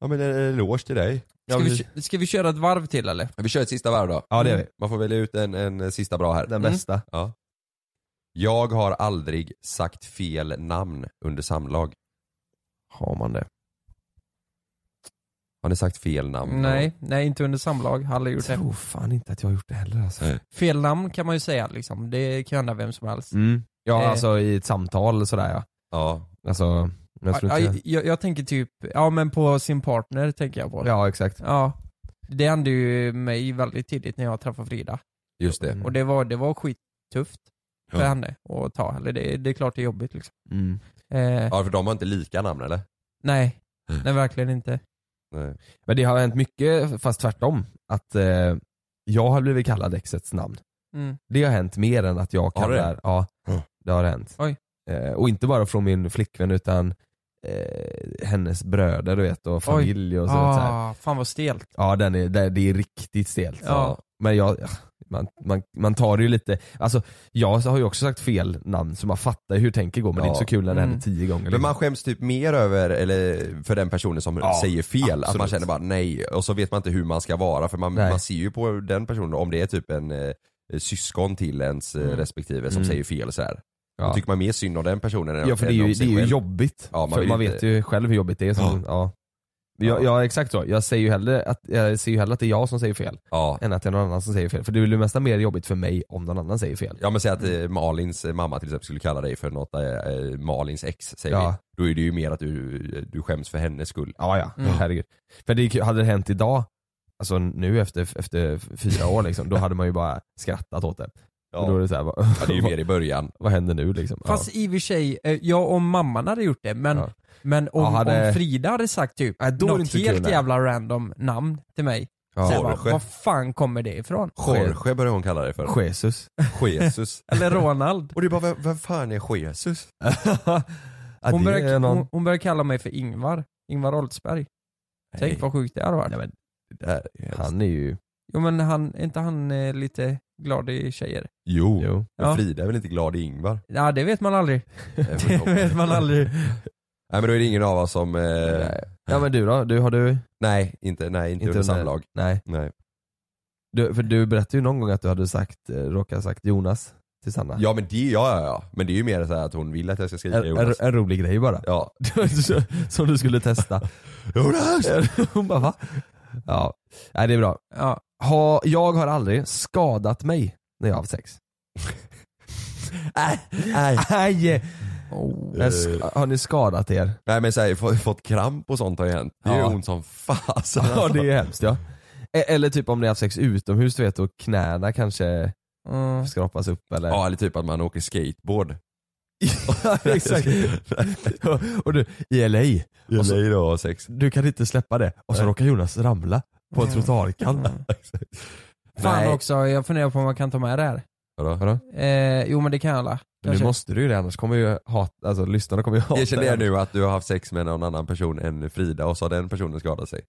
Speaker 3: Ja men en eloge till dig.
Speaker 4: Ska vi, kö- ska vi köra ett varv till eller?
Speaker 3: Vi kör ett sista varv då. Mm.
Speaker 5: ja, det är vi.
Speaker 3: Man får välja ut en, en sista bra här.
Speaker 5: Den
Speaker 4: Mm.
Speaker 5: bästa.
Speaker 3: Ja. Jag har aldrig sagt fel namn under samlag.
Speaker 5: Har man det.
Speaker 3: Har ni sagt fel namn?
Speaker 4: Nej, nej inte under samlag. Har aldrig
Speaker 5: Jag
Speaker 4: gjort det.
Speaker 5: tror fan inte att jag har gjort det heller alltså.
Speaker 3: Nej.
Speaker 4: Fel namn kan man ju säga liksom. Det kan hända vem som helst.
Speaker 5: Mm. Ja,
Speaker 4: Eh.
Speaker 5: alltså i ett samtal eller sådär ja.
Speaker 3: Ja.
Speaker 5: Alltså, jag tror
Speaker 4: Ja,
Speaker 5: inte...
Speaker 4: jag, jag tänker typ, ja men på sin partner tänker jag på.
Speaker 5: Ja, exakt.
Speaker 4: Ja. Det hände ju mig väldigt tidigt när jag träffade Frida.
Speaker 3: Just det.
Speaker 5: Mm.
Speaker 4: Och det var, det var skittufft för
Speaker 3: Ja.
Speaker 4: henne att ta. Eller det, det är klart det är jobbigt liksom.
Speaker 5: Mm.
Speaker 4: Eh,
Speaker 3: Ja för de har inte lika namn eller?
Speaker 4: Nej,
Speaker 5: Mm.
Speaker 4: nej verkligen inte.
Speaker 3: Nej.
Speaker 5: Men det har hänt mycket, fast tvärtom. Att eh, jag har blivit kallad exets namn.
Speaker 4: Mm.
Speaker 5: Det har hänt mer än att jag
Speaker 3: Har det? Mm.
Speaker 5: kallar... Ja,
Speaker 3: Ja.
Speaker 5: det har hänt.
Speaker 4: Oj.
Speaker 5: Eh, och inte bara från min flickvän utan eh, hennes bröder du vet och familj och så, så här.
Speaker 4: Ah, fan vad stelt.
Speaker 5: Ja den är, det, det är riktigt stelt.
Speaker 4: Ja.
Speaker 5: Men jag, man, man, man tar det ju lite, alltså jag har ju också sagt fel namn så man fattar ju hur tänker går men det är
Speaker 3: Ja.
Speaker 5: inte så kul när det
Speaker 4: Mm.
Speaker 5: händer tio gånger.
Speaker 3: Men
Speaker 5: liksom.
Speaker 3: man skäms typ mer över, eller för den personen som
Speaker 5: Ja,
Speaker 3: säger fel, att man
Speaker 5: absolut.
Speaker 3: känner bara nej och så vet man inte hur man ska vara för man,
Speaker 5: Nej.
Speaker 3: man ser ju på den personen om det är typ en eh, syskon till ens eh,
Speaker 4: Mm.
Speaker 3: respektive som
Speaker 5: Mm.
Speaker 3: säger fel så här. Då
Speaker 5: ja.
Speaker 3: tycker man mer synd om den personen än
Speaker 5: ja för det är
Speaker 3: än om
Speaker 5: ju, det
Speaker 3: sig
Speaker 5: är ju
Speaker 3: själv.
Speaker 5: jobbigt.
Speaker 3: Ja, man
Speaker 5: man, för
Speaker 3: vill
Speaker 5: man
Speaker 3: inte-
Speaker 5: vet ju själv hur jobbigt det är. Så
Speaker 3: Ja.
Speaker 5: man, ja. Jag, ja, exakt så. Jag, säger ju hellre att, jag ser ju hellre att det är jag som säger fel,
Speaker 3: Ja.
Speaker 5: än att det är någon annan som säger fel. För det blir ju nästan mer jobbigt för mig om någon annan säger fel.
Speaker 3: Ja men säg att eh, Malins eh, mamma till exempel skulle kalla dig för något, eh, eh, Malins ex säger
Speaker 5: Ja.
Speaker 3: vi. Då är det ju mer att du, eh, du skäms för hennes skull.
Speaker 5: Ja, ja.
Speaker 4: Mm.
Speaker 5: Herregud. För det, gick- hade det hänt idag, alltså nu efter, efter fyra år liksom, då hade man ju bara skrattat åt det.
Speaker 3: Ja.
Speaker 5: Och då är det så här, vad,
Speaker 3: Ja, det är ju mer i början.
Speaker 5: vad händer nu liksom? Ja.
Speaker 4: Fast i och för sig, eh, jag och mamman hade gjort det men,
Speaker 5: Ja.
Speaker 4: men om,
Speaker 5: Ja, hade-
Speaker 4: om Frida hade sagt typ
Speaker 5: Nej, då är det
Speaker 4: något
Speaker 5: inte
Speaker 4: helt
Speaker 5: kul, nej.
Speaker 4: jävla random namn till mig.
Speaker 5: Ja.
Speaker 4: Så jag bara,
Speaker 3: Jorge.
Speaker 4: vad fan kommer det ifrån?
Speaker 3: Jorge börjar hon kalla dig för.
Speaker 5: Jesus.
Speaker 3: Jesus.
Speaker 4: Eller Ronald.
Speaker 3: Och du bara, vem, vem fan är Jesus?
Speaker 5: Ja,
Speaker 4: Hon
Speaker 5: det
Speaker 4: börjar,
Speaker 5: är någon-
Speaker 4: hon, hon börjar kalla mig för Ingvar. Ingvar Oldsberg. Tänk vad sjukt det hade varit.
Speaker 5: Nej, men,
Speaker 3: Det här är hemskt.
Speaker 5: han är ju...
Speaker 4: Jo men han, är inte han eh, lite glad i tjejer?
Speaker 3: Jo,
Speaker 5: Jo.
Speaker 3: men
Speaker 4: Ja.
Speaker 3: Frida är väl inte glad i Ingvar?
Speaker 4: Ja det vet man aldrig.
Speaker 3: det
Speaker 4: Det vet man aldrig.
Speaker 3: Nej men då är det ingen av oss som, eh,
Speaker 5: Nej. Ja men du då? Du, har du?
Speaker 3: nej inte, nej inte, under samlag.
Speaker 5: Nej.
Speaker 3: Nej.
Speaker 5: Du, för du berättade ju någon gång att du hade sagt, eh, råkat sagt Jonas till Sanna.
Speaker 3: Ja men det, ja ja ja. Men det är ju mer så här att hon vill att jag ska skrika
Speaker 5: en, en,
Speaker 3: Jonas.
Speaker 5: en rolig grej bara.
Speaker 3: Ja.
Speaker 5: Som du skulle testa.
Speaker 3: Jonas!
Speaker 5: Hon bara va? Ja, Nej, det är bra.
Speaker 4: Ja.
Speaker 5: Ha, jag har aldrig skadat mig när jag har haft sex.
Speaker 3: Nej.
Speaker 5: Nej!
Speaker 4: Oh.
Speaker 5: Jag sk- Har ni skadat er?
Speaker 3: Nej men såhär, få, fått kramp och sånt har ju hänt. Det är ju
Speaker 5: Ja.
Speaker 3: ont som fasen.
Speaker 5: Ja det är hemskt ja. E- Eller typ om ni har haft sex utomhus du vet och knäna kanske
Speaker 4: Mm.
Speaker 5: skrapas upp eller?
Speaker 3: Ja eller typ att man åker skateboard.
Speaker 5: exakt. och du, i LA,
Speaker 3: Och
Speaker 5: så-
Speaker 3: så är det att ha sex.
Speaker 5: du kan inte släppa det. Och så råkar Jonas ramla på en trottoarkant.
Speaker 4: Mm. Fan
Speaker 5: Nej.
Speaker 4: också, jag funderar på om man kan ta med det här.
Speaker 3: Vadå?
Speaker 4: Eh, jo men det kan alla.
Speaker 5: Nu
Speaker 4: Kanske.
Speaker 5: måste du ju det annars kommer ju hata, alltså lyssnarna kommer ju hata
Speaker 3: Erkänn det
Speaker 5: dig.
Speaker 3: nu att du har haft sex med någon annan person än Frida och så har den personen skadat sig.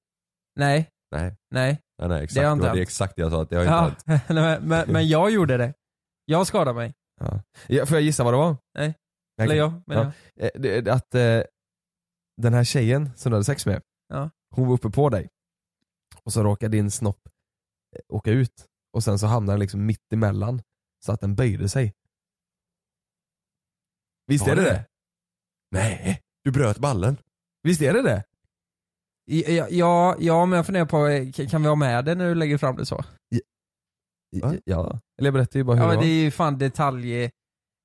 Speaker 4: Nej,
Speaker 3: Nej,
Speaker 4: nej.
Speaker 3: nej, nej exakt.
Speaker 4: Det
Speaker 3: Det,
Speaker 4: har
Speaker 3: var
Speaker 4: inte
Speaker 3: det
Speaker 4: hänt.
Speaker 3: exakt jag sa att det har inte
Speaker 4: Ja,
Speaker 3: hänt.
Speaker 4: nej, men, men, men jag gjorde det. Jag skadade mig.
Speaker 5: Ja, får jag gissa vad det var?
Speaker 4: Nej.
Speaker 5: Nej,
Speaker 4: Eller
Speaker 5: okej.
Speaker 4: jag, men
Speaker 5: Ja.
Speaker 4: jag.
Speaker 5: Eh, det- det- Att eh, den här tjejen som du hade sex med,
Speaker 4: Ja.
Speaker 5: hon var uppe på dig. Och så råkade din snopp eh, åka ut. Och sen så hamnade den liksom mitt emellan. Så att den böjde sig. Visst
Speaker 3: Var
Speaker 5: är det
Speaker 3: det
Speaker 5: det?
Speaker 3: Nej, du bröt ballen.
Speaker 5: Visst är det det?
Speaker 4: Ja, ja, ja, men jag funderar på, eh, k- kan vi ha med det när du lägger fram det så?
Speaker 3: Va?
Speaker 5: Ja. Eller jag berättade ju bara hur
Speaker 4: Ja
Speaker 5: det
Speaker 4: men
Speaker 5: var.
Speaker 4: det är ju fan detalj...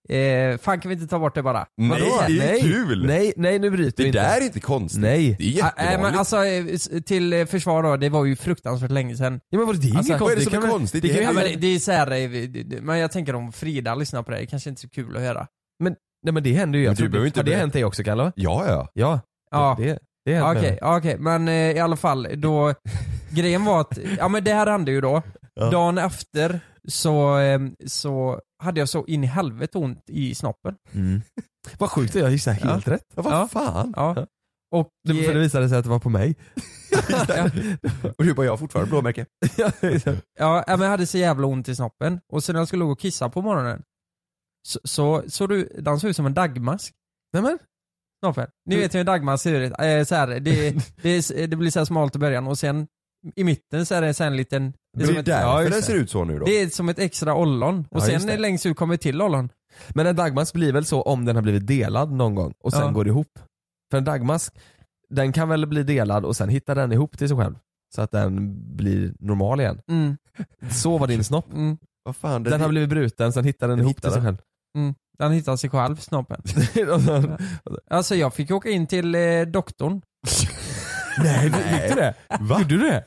Speaker 4: Eh, fan kan vi inte ta bort det bara?
Speaker 3: Nej, det är ju
Speaker 5: nej,
Speaker 3: kul!
Speaker 5: Nej, nej nu bryter
Speaker 3: Det
Speaker 5: vi inte.
Speaker 3: där är inte konstigt.
Speaker 5: Nej.
Speaker 3: Det är
Speaker 4: Ah, Nej
Speaker 3: jättevanligt.
Speaker 4: men alltså eh, s- till eh, försvar då, det var ju fruktansvärt länge sedan.
Speaker 5: Ja men vadå det är
Speaker 4: Alltså,
Speaker 5: inget
Speaker 3: Vad är det
Speaker 5: konstigt.
Speaker 3: som är
Speaker 5: kan man-
Speaker 3: konstigt?
Speaker 5: det kan
Speaker 4: Ja,
Speaker 5: vi-
Speaker 4: men det, det är så här, eh, vi- det- det- men jag tänker om Frida lyssnar på det, det kanske inte är så kul att höra.
Speaker 5: Nej men det händer ju.
Speaker 3: Men
Speaker 5: Jag
Speaker 3: du
Speaker 5: trodde-
Speaker 3: behöver inte
Speaker 5: har det
Speaker 3: berätta.
Speaker 5: hänt dig också Kalle?
Speaker 3: Ja ja.
Speaker 5: Ja.
Speaker 4: Ja.
Speaker 5: Det, det är
Speaker 4: Okej, ja, okej, men eh, i alla fall då, grejen var att, ja men det här hände ju då.
Speaker 3: Ja.
Speaker 4: Dagen efter så, eh, så hade jag så in i helvete ont i snoppen.
Speaker 5: Mm. Vad sjukt att jag gissade helt rätt.
Speaker 3: ja vad
Speaker 4: Ja.
Speaker 3: fan?
Speaker 4: Ja. Och,
Speaker 5: Det, för det
Speaker 4: eh,
Speaker 5: visade sig att det var på mig.
Speaker 3: Och du bara, jag har fortfarande blåmärken.
Speaker 4: ja, ja, men jag hade så jävla ont i snoppen och sen när jag skulle gå och kissa på morgonen så, så, så du, den såg ut som en dagmask.
Speaker 5: Nämen.
Speaker 4: Snoppen. Ni vet hur en dagmask ser ut. Eh, så här, det, det, det blir så här smalt i början och sen i mitten så är det så här en liten...
Speaker 3: Det är
Speaker 4: som
Speaker 3: ju
Speaker 4: ett-
Speaker 3: därför
Speaker 4: just
Speaker 3: den
Speaker 4: det.
Speaker 3: ser ut så nu då.
Speaker 4: Det är som ett extra ollon
Speaker 5: Ja,
Speaker 4: och
Speaker 5: just
Speaker 4: sen
Speaker 5: det.
Speaker 4: längst ut kommer till ollon.
Speaker 5: Men en dagmask blir väl så om den har blivit delad någon gång och sen
Speaker 4: Ja.
Speaker 5: går det ihop. För en dagmask, den kan väl bli delad och sen hittar den ihop till sig själv. Så att den blir normal igen.
Speaker 4: Mm,
Speaker 5: Så var din snopp.
Speaker 4: mm.
Speaker 3: Vad fan,
Speaker 5: Den har blivit bruten, sen hittar den
Speaker 3: Den
Speaker 5: ihop till sig själv.
Speaker 4: Den hittar sig själv snoppen.
Speaker 5: Och sen-
Speaker 4: Alltså jag fick åka in till eh, doktorn.
Speaker 5: Nej, fick du det? Va? Gjorde du det?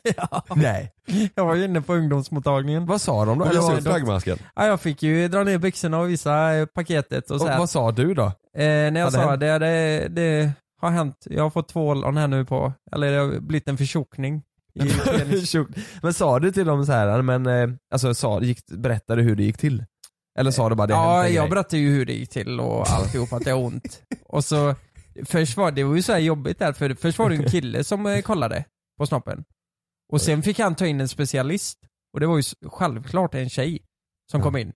Speaker 5: Nej.
Speaker 4: Jag var ju inne på ungdomsmottagningen.
Speaker 5: Vad sa de då?
Speaker 3: Vad
Speaker 5: Eller
Speaker 3: visar
Speaker 5: vad-
Speaker 3: upp dagmasken?
Speaker 4: Ja, jag fick ju dra ner byxorna och visa eh, paketet och
Speaker 5: och
Speaker 4: så här.
Speaker 5: vad sa du då?
Speaker 4: Eh, när jag
Speaker 5: Hade
Speaker 4: sa
Speaker 5: hänt?
Speaker 4: det, det, det har hänt, jag har fått två ollon här nu på, eller det har blivit en förtjokning. I penis.
Speaker 5: Tjock. men sa du till dem så här, men eh, alltså sa, gick, berättade hur det gick till? Eller sa du bara det hänt
Speaker 4: ja,
Speaker 5: en
Speaker 4: jag
Speaker 5: grej?
Speaker 4: berättade ju hur det gick till och alltihop, att det har ont. Och så, först var det var ju så här jobbigt där, för först var det en kille som eh, kollade på snoppen. Och sen fick han ta in en specialist, och det var ju s- självklart en tjej som kom in.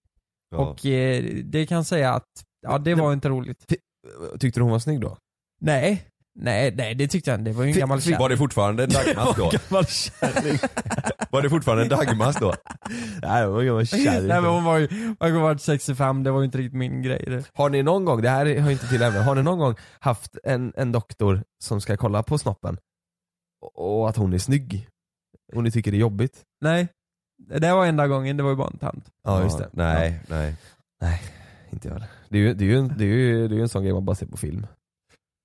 Speaker 3: Ja.
Speaker 4: Och eh, det kan säga att, ja det var inte roligt.
Speaker 5: Tyckte du hon var snygg då?
Speaker 4: Nej, nej, nej det tyckte jag inte. Det var ju en
Speaker 5: Fick-
Speaker 4: gammal
Speaker 5: fick-
Speaker 4: tjej.
Speaker 3: Var det fortfarande en dagmask då? Var det fortfarande en dagmask då?
Speaker 5: Nej, hon var kär.
Speaker 4: Nej men hon var ju, hon var 65, det var ju inte riktigt min grej. Det.
Speaker 5: Har ni någon gång, det här hör ju inte till ämnet, har ni någon gång haft en, en doktor som ska kolla på snoppen? och att hon är snygg. Och ni tycker det är jobbigt.
Speaker 4: Nej. Det var enda gången, det var ju bara en tant.
Speaker 5: Ja just det.
Speaker 3: Nej, nej.
Speaker 5: Ja, inte jag heller. det är ju, det är ju, en- det är ju, det är ju en sån grej man bara ser på film.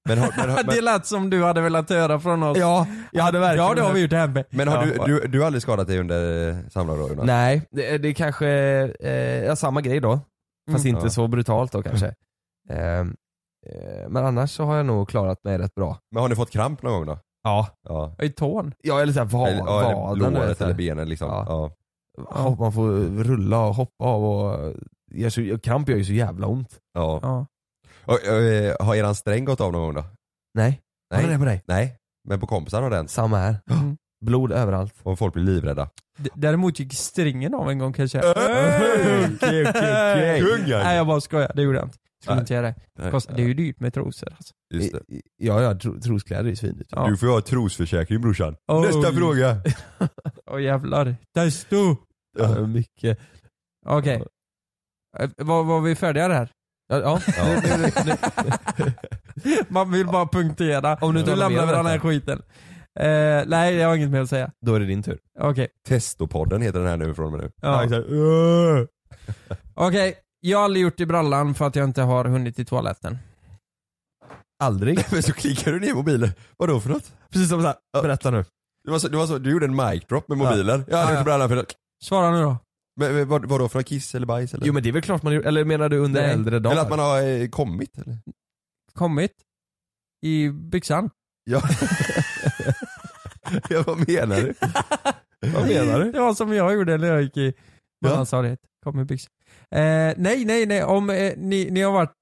Speaker 3: Men har, men, har-
Speaker 4: det
Speaker 3: men,
Speaker 4: lät som du hade velat höra från oss.
Speaker 5: Ja, jag hade verkligen
Speaker 4: ja det har vi gjort det här med.
Speaker 3: men har
Speaker 5: Ja,
Speaker 3: du,
Speaker 5: bara-
Speaker 3: du, du har aldrig skadat dig under eh, samlag då Jonas?
Speaker 5: Nej, det, är- det är kanske eh, ja, samma grej då. Fast
Speaker 4: Mm.
Speaker 5: inte
Speaker 3: Ja.
Speaker 5: så brutalt då kanske. Ehm, eh, men annars så har jag nog klarat mig rätt bra.
Speaker 3: Men har ni fått kramp någon gång då?
Speaker 5: Ja.
Speaker 3: Ja.
Speaker 4: I tån.
Speaker 5: Ja eller såhär vad,
Speaker 3: eller, ja,
Speaker 5: vaden.
Speaker 3: eller
Speaker 5: du
Speaker 3: låret
Speaker 5: vet,
Speaker 3: eller benen liksom.
Speaker 5: Ja.
Speaker 3: Ja.
Speaker 5: hopp, man får rulla och hoppa av och gör så, kramp gör ju så jävla ont.
Speaker 3: Ja.
Speaker 4: Ja.
Speaker 3: Och, och, eh, har eran sträng gått av någon gång då?
Speaker 5: Nej.
Speaker 3: Nej.
Speaker 5: Har det på dig?
Speaker 3: Nej. Men på kompisar har den.
Speaker 5: Samma här.
Speaker 4: Mm.
Speaker 5: Blod överallt.
Speaker 3: Och folk blir livrädda.
Speaker 4: D- Däremot gick stringen av en gång kanske. Äh!
Speaker 3: Okej, Äh! okej, okej. Kungen.
Speaker 4: Nej jag bara skojar, det gjorde jag inte. Skulle
Speaker 3: Nej.
Speaker 4: inte göra det.
Speaker 3: Nej.
Speaker 4: Kost, det är ju dyrt med trosor alltså.
Speaker 3: Just det.
Speaker 5: I- i- Ja, ja tro, troskläder är ju svindyrt.
Speaker 4: Ja.
Speaker 3: Du får ju ha trosförsäkring brorsan.
Speaker 4: Oj.
Speaker 3: Nästa fråga.
Speaker 4: Åh jävlar. Testo!
Speaker 5: Ja, mycket.
Speaker 4: Okej. Eh, Var, var vi färdiga där?
Speaker 5: Ja, ja.
Speaker 3: Ja.
Speaker 4: Man vill bara punktera. Om
Speaker 5: du
Speaker 4: du
Speaker 5: inte
Speaker 4: inte
Speaker 5: har något mer
Speaker 4: lämnar
Speaker 5: att
Speaker 4: vi den här skiten. Eh, nej, jag har inget mer att säga.
Speaker 5: Då är det din tur.
Speaker 4: Okej.
Speaker 3: Testopodden heter den här nu från och med nu.
Speaker 4: Ja.
Speaker 3: exakt. Öh.
Speaker 4: Okej, jag har aldrig gjort i brallan för att jag inte har hunnit till toaletten.
Speaker 5: Aldrig.
Speaker 3: Men så klickar du ner mobilen. Vadå för något?
Speaker 5: Precis som såhär, berätta nu.
Speaker 3: Du, var så, du, var så, du gjorde en mic drop med mobilen. Ja. Jag
Speaker 4: Ja,
Speaker 3: hade
Speaker 4: ja.
Speaker 3: inte brallan för något.
Speaker 4: Svara nu då.
Speaker 3: Men, men vad, vadå för något? Kiss eller bajs eller?
Speaker 5: Jo men det är väl klart man gjorde, eller menar du under
Speaker 4: Nej.
Speaker 5: äldre dagar?
Speaker 3: eller att man har eh, kommit eller?
Speaker 4: Kommit? I byxan?
Speaker 3: Ja. ja vad menar du? vad menar du?
Speaker 4: Det var som jag gjorde när jag gick i mellanstadiet. Kom i byxan. Eh, nej, nej, nej. Om eh, ni, ni har varit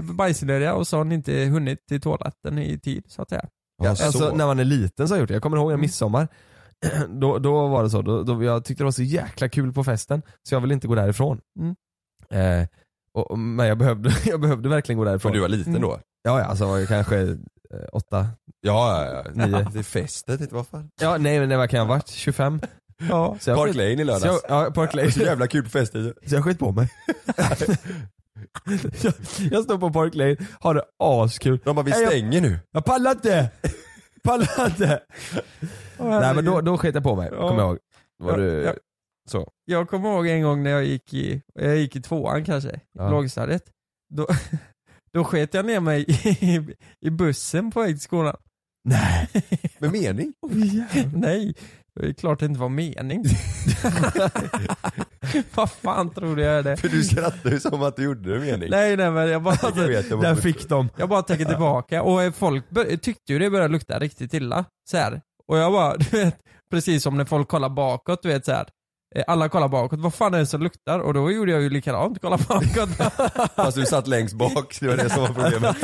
Speaker 4: eh, bajsnödiga och så har ni inte hunnit till toaletten i tid så att säga.
Speaker 5: Ja,
Speaker 3: Ja, så.
Speaker 5: alltså när man är liten så har jag gjort det. Jag kommer
Speaker 4: Mm.
Speaker 5: ihåg en midsommar. Då, då var det så, då, då, jag tyckte det var så jäkla kul på festen så jag ville inte gå därifrån.
Speaker 4: Mm.
Speaker 5: Eh, och, och- men jag behövde, jag behövde verkligen gå därifrån.
Speaker 3: För du var liten då?
Speaker 5: Ja, ja, alltså jag var ju kanske eh, åtta.
Speaker 3: Ja, ja, ja.
Speaker 5: Nio.
Speaker 3: Det är festet, inte vad fan.
Speaker 5: Ja, nej men nej, vad kan jag ha varit? 25?
Speaker 4: Ja.
Speaker 5: Så jag
Speaker 3: Park Lane i
Speaker 5: Så
Speaker 3: lördags.
Speaker 5: jag, ja, Park Lane.
Speaker 3: Så jävla kul på festet.
Speaker 5: Så jag skit på mig. jag, jag står på Park Lane, har det askul.
Speaker 3: De bara, vi
Speaker 5: Nej, jag-
Speaker 3: stänger nu.
Speaker 5: Jag pallar inte! Pallar inte! Nej men då, då skit jag på mig,
Speaker 4: Ja.
Speaker 5: kommer jag ihåg. Var
Speaker 4: Ja,
Speaker 5: du...
Speaker 4: ja.
Speaker 5: Så.
Speaker 4: Jag kommer ihåg en gång när jag gick i, jag gick i tvåan kanske,
Speaker 5: Ja.
Speaker 4: i lågstadiet. Då, då sket jag ner mig i, i bussen på väg till skolan.
Speaker 5: Nej.
Speaker 3: Med mening.
Speaker 4: Nej, det är klart det inte var mening. Vad fan trodde jag det?
Speaker 3: För du skrattar ju som att du gjorde det med mening.
Speaker 4: Nej nej men jag bara,
Speaker 5: alltså,
Speaker 3: Jag vet, jag bara-
Speaker 5: Där fick de.
Speaker 4: jag bara tänker tillbaka och eh, folk bör, tyckte ju det började lukta riktigt illa. Så här. Och jag bara, du vet, precis som när folk kollar bakåt, du vet så här. Eh, Alla kollar bakåt, vad fan är det som luktar? Och då gjorde jag ju likadant, kolla bakåt.
Speaker 3: Fast du satt längst bak, det var det som var problemet.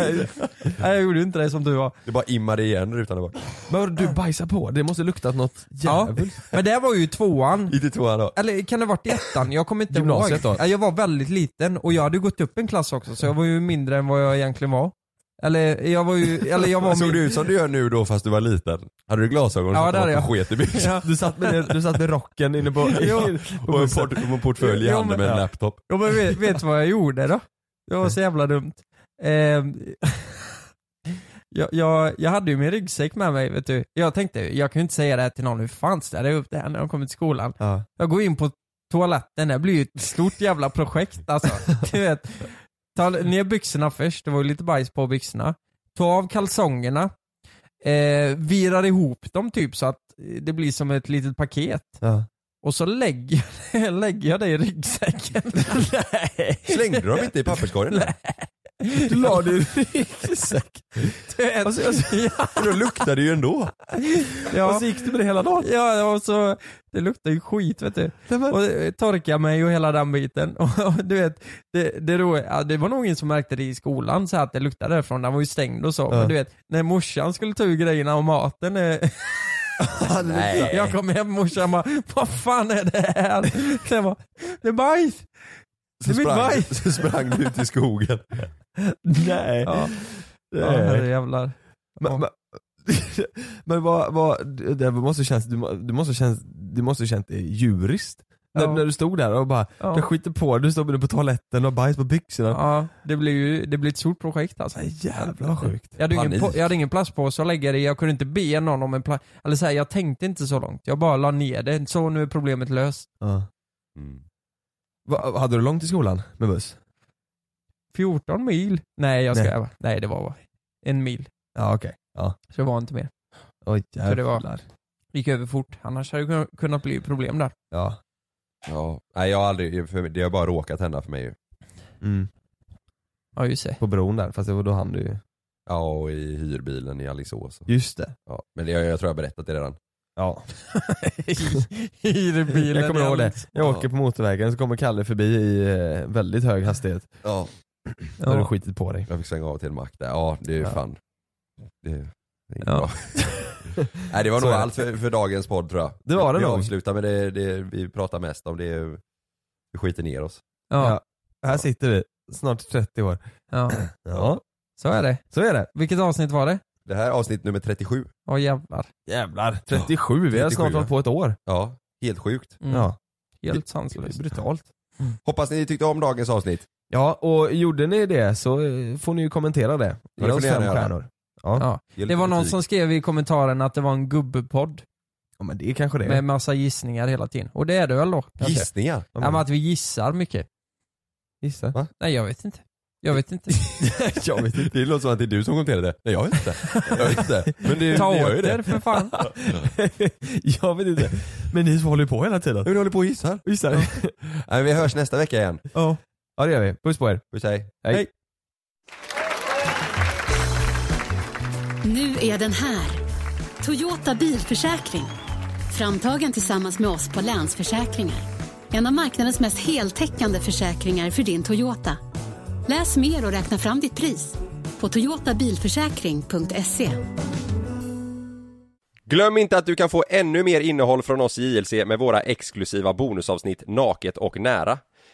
Speaker 4: Nej jag gjorde inte det som du var.
Speaker 3: Det bara immade igen rutan där bak.
Speaker 5: Men du bajsar på, det måste luktat något jävligt.
Speaker 4: Men det här var ju i tvåan.
Speaker 3: Gick till tvåan då.
Speaker 4: Eller kan det ha varit i ettan? Jag kommer inte
Speaker 5: Gymnasiet
Speaker 4: ihåg.
Speaker 5: då?
Speaker 4: Ja, Jag var väldigt liten och jag hade gått upp en klass också så jag var ju mindre än vad jag egentligen var. Eller jag var ju, eller jag var
Speaker 3: Såg
Speaker 4: min-
Speaker 3: du ut som du gör nu då fast du var liten? Hade du glasögon
Speaker 4: Ja,
Speaker 3: och
Speaker 4: det hade
Speaker 3: satt och
Speaker 4: jag.
Speaker 3: sket i byxan?
Speaker 4: Ja.
Speaker 5: Du, satt med, du satt med rocken inne på...
Speaker 4: Jo.
Speaker 3: Och en, port, och en portfölj i
Speaker 4: Jo,
Speaker 3: handen
Speaker 4: men-
Speaker 3: med en
Speaker 4: ja.
Speaker 3: laptop.
Speaker 4: Ja, men vet, vet vad jag gjorde då? Det var så jävla dumt. Ehm, jag, jag, jag hade ju min ryggsäck med mig vet du. Jag tänkte, jag kan ju inte säga det här till någon, hur fan städar jag upp det här när de kommer till skolan?
Speaker 5: Ja.
Speaker 4: Jag går in på toaletten, det blir ju ett stort jävla projekt alltså. Du vet, ta ner byxorna först, det var ju lite bajs på byxorna. Ta av kalsongerna, eh, virar ihop dem typ så att eh, det blir som ett litet paket.
Speaker 5: Ja.
Speaker 4: Och så lägger, lägger jag det i ryggsäcken. Nej.
Speaker 3: Slängde du dem inte i papperskorgen? där?
Speaker 4: Du la det i ryggsäcken. ja,
Speaker 3: För då luktade det ju ändå.
Speaker 4: ja. Och så gick du med det hela dagen? Ja, och så, det luktar ju skit vet du. Och eh, torka mig och hela den biten. Och, och du vet, det, det, då, ja, det var nog ingen som märkte det i skolan så här att det luktade därifrån, den var ju stängd och så. Men du vet, när morsan skulle ta ur grejerna och maten eh,
Speaker 3: Nej.
Speaker 4: Jag kom hem morsan bara, vad fan är det här? Så jag bara, det är bajs!
Speaker 3: Så
Speaker 4: Det är mitt
Speaker 3: sprang,
Speaker 4: bajs.
Speaker 3: så sprang du ut i skogen.
Speaker 5: Nej.
Speaker 4: Ja, ja herrejävlar.
Speaker 5: Men, men, men vad, vad, det måste känns, du, må- du måste känns, du måste känt dig djuriskt När,
Speaker 4: Ja.
Speaker 5: när du stod där och bara,
Speaker 4: Ja.
Speaker 5: jag skiter på dig, du står på toaletten och har bajs på byxorna.
Speaker 4: Ja, det blir ju det blir ett stort projekt alltså.
Speaker 5: Jävlar vad sjukt.
Speaker 4: Jag hade, ingen
Speaker 3: Panik.
Speaker 4: po- jag hade ingen plastpåse att lägga det i, jag kunde inte be någon om en plats. Eller så här, jag tänkte inte så långt. Jag bara la ner det, så nu är problemet löst.
Speaker 3: Mm.
Speaker 5: Va, hade du långt till skolan med buss?
Speaker 4: 14 mil? Nej jag ska
Speaker 5: Nej.
Speaker 4: Nej, Nej det var bara en mil.
Speaker 5: Ja okej. Ja.
Speaker 4: Så det var inte mer.
Speaker 5: Oj jävlar.
Speaker 4: det var- Gick över fort, annars hade det kun- kunnat bli problem där.
Speaker 5: Ja.
Speaker 3: Ja. Nej jag har aldrig, för det har bara råkat hända för mig ju.
Speaker 5: Mm.
Speaker 4: Ja just det.
Speaker 5: På bron där, fast det var då han du ju.
Speaker 3: Ja och i hyrbilen i Alingsås.
Speaker 5: Just det.
Speaker 3: Ja. Men det, jag, jag tror jag har berättat det redan.
Speaker 5: Ja.
Speaker 4: I bilen.
Speaker 5: Jag kommer ihåg
Speaker 4: igen.
Speaker 5: det. Jag åker på motorvägen så kommer Kalle förbi i eh, väldigt hög hastighet.
Speaker 3: Ja.
Speaker 5: Då har du
Speaker 4: Ja.
Speaker 5: skitit på dig.
Speaker 3: Jag fick svänga av till en mack där. Ja det är ju
Speaker 5: Ja.
Speaker 3: fan. Det, det är inte
Speaker 4: Ja.
Speaker 3: bra. Nej det var
Speaker 5: Så
Speaker 3: nog
Speaker 5: är det.
Speaker 3: allt för, för dagens podd tror jag.
Speaker 5: Det var det
Speaker 3: Vi
Speaker 5: nog.
Speaker 3: avslutar med det, det vi pratar mest om. Det är, vi skiter ner oss.
Speaker 4: Ja,
Speaker 5: Här sitter vi, snart 30 år.
Speaker 4: ja,
Speaker 5: Ja.
Speaker 4: så är det.
Speaker 5: Så är det.
Speaker 4: Vilket avsnitt var det?
Speaker 3: Det här är avsnitt nummer 37.
Speaker 4: Åh jävlar.
Speaker 5: Jävlar. 37, vi har
Speaker 3: 37,
Speaker 5: snart
Speaker 3: ja.
Speaker 5: hållit på ett år.
Speaker 3: Ja, helt sjukt.
Speaker 4: Mm.
Speaker 5: Ja.
Speaker 4: Helt
Speaker 5: Det är
Speaker 4: sanslöst.
Speaker 5: brutalt.
Speaker 3: Hoppas ni tyckte om dagens avsnitt.
Speaker 5: Ja, och gjorde ni det så eh, får ni ju kommentera det. Ge
Speaker 3: får
Speaker 5: oss
Speaker 3: ni gärna
Speaker 5: fem
Speaker 3: göra.
Speaker 5: stjärnor. Ja.
Speaker 4: Ja.
Speaker 5: ja.
Speaker 3: Ge lite
Speaker 4: Det var någon
Speaker 3: kritik.
Speaker 4: som skrev i kommentaren att det var en gubbepodd
Speaker 5: men det är kanske det
Speaker 4: med massa gissningar hela tiden. Och det är det väl då? kanske?
Speaker 3: Gissningar?
Speaker 4: Ja, men att vi gissar mycket.
Speaker 5: Gissa.
Speaker 3: Va?
Speaker 4: Nej jag vet inte. Jag vet inte.
Speaker 3: jag vet inte. Det låter som att det är du som kommenterar det. Nej jag vet inte. Jag vet inte. Men det,
Speaker 4: Ta
Speaker 3: ni
Speaker 4: åt
Speaker 3: gör ju det.
Speaker 4: er för fan.
Speaker 5: jag vet inte. Men ni håller ju på hela tiden.
Speaker 3: Men du håller på och gissar.
Speaker 5: Gissar.
Speaker 3: Nej, vi hörs nästa vecka igen.
Speaker 5: Ja. ja, det gör vi. Puss på er.
Speaker 3: Puss hej.
Speaker 5: Hej.
Speaker 2: Nu är den här. Toyota bilförsäkring. Framtagen tillsammans med oss på Länsförsäkringar. En av marknadens mest heltäckande försäkringar för din Toyota. Läs mer och räkna fram ditt pris på toyotabilförsäkring.se.
Speaker 3: Glöm inte att du kan få ännu mer innehåll från oss i JLC med våra exklusiva bonusavsnitt Naket och nära.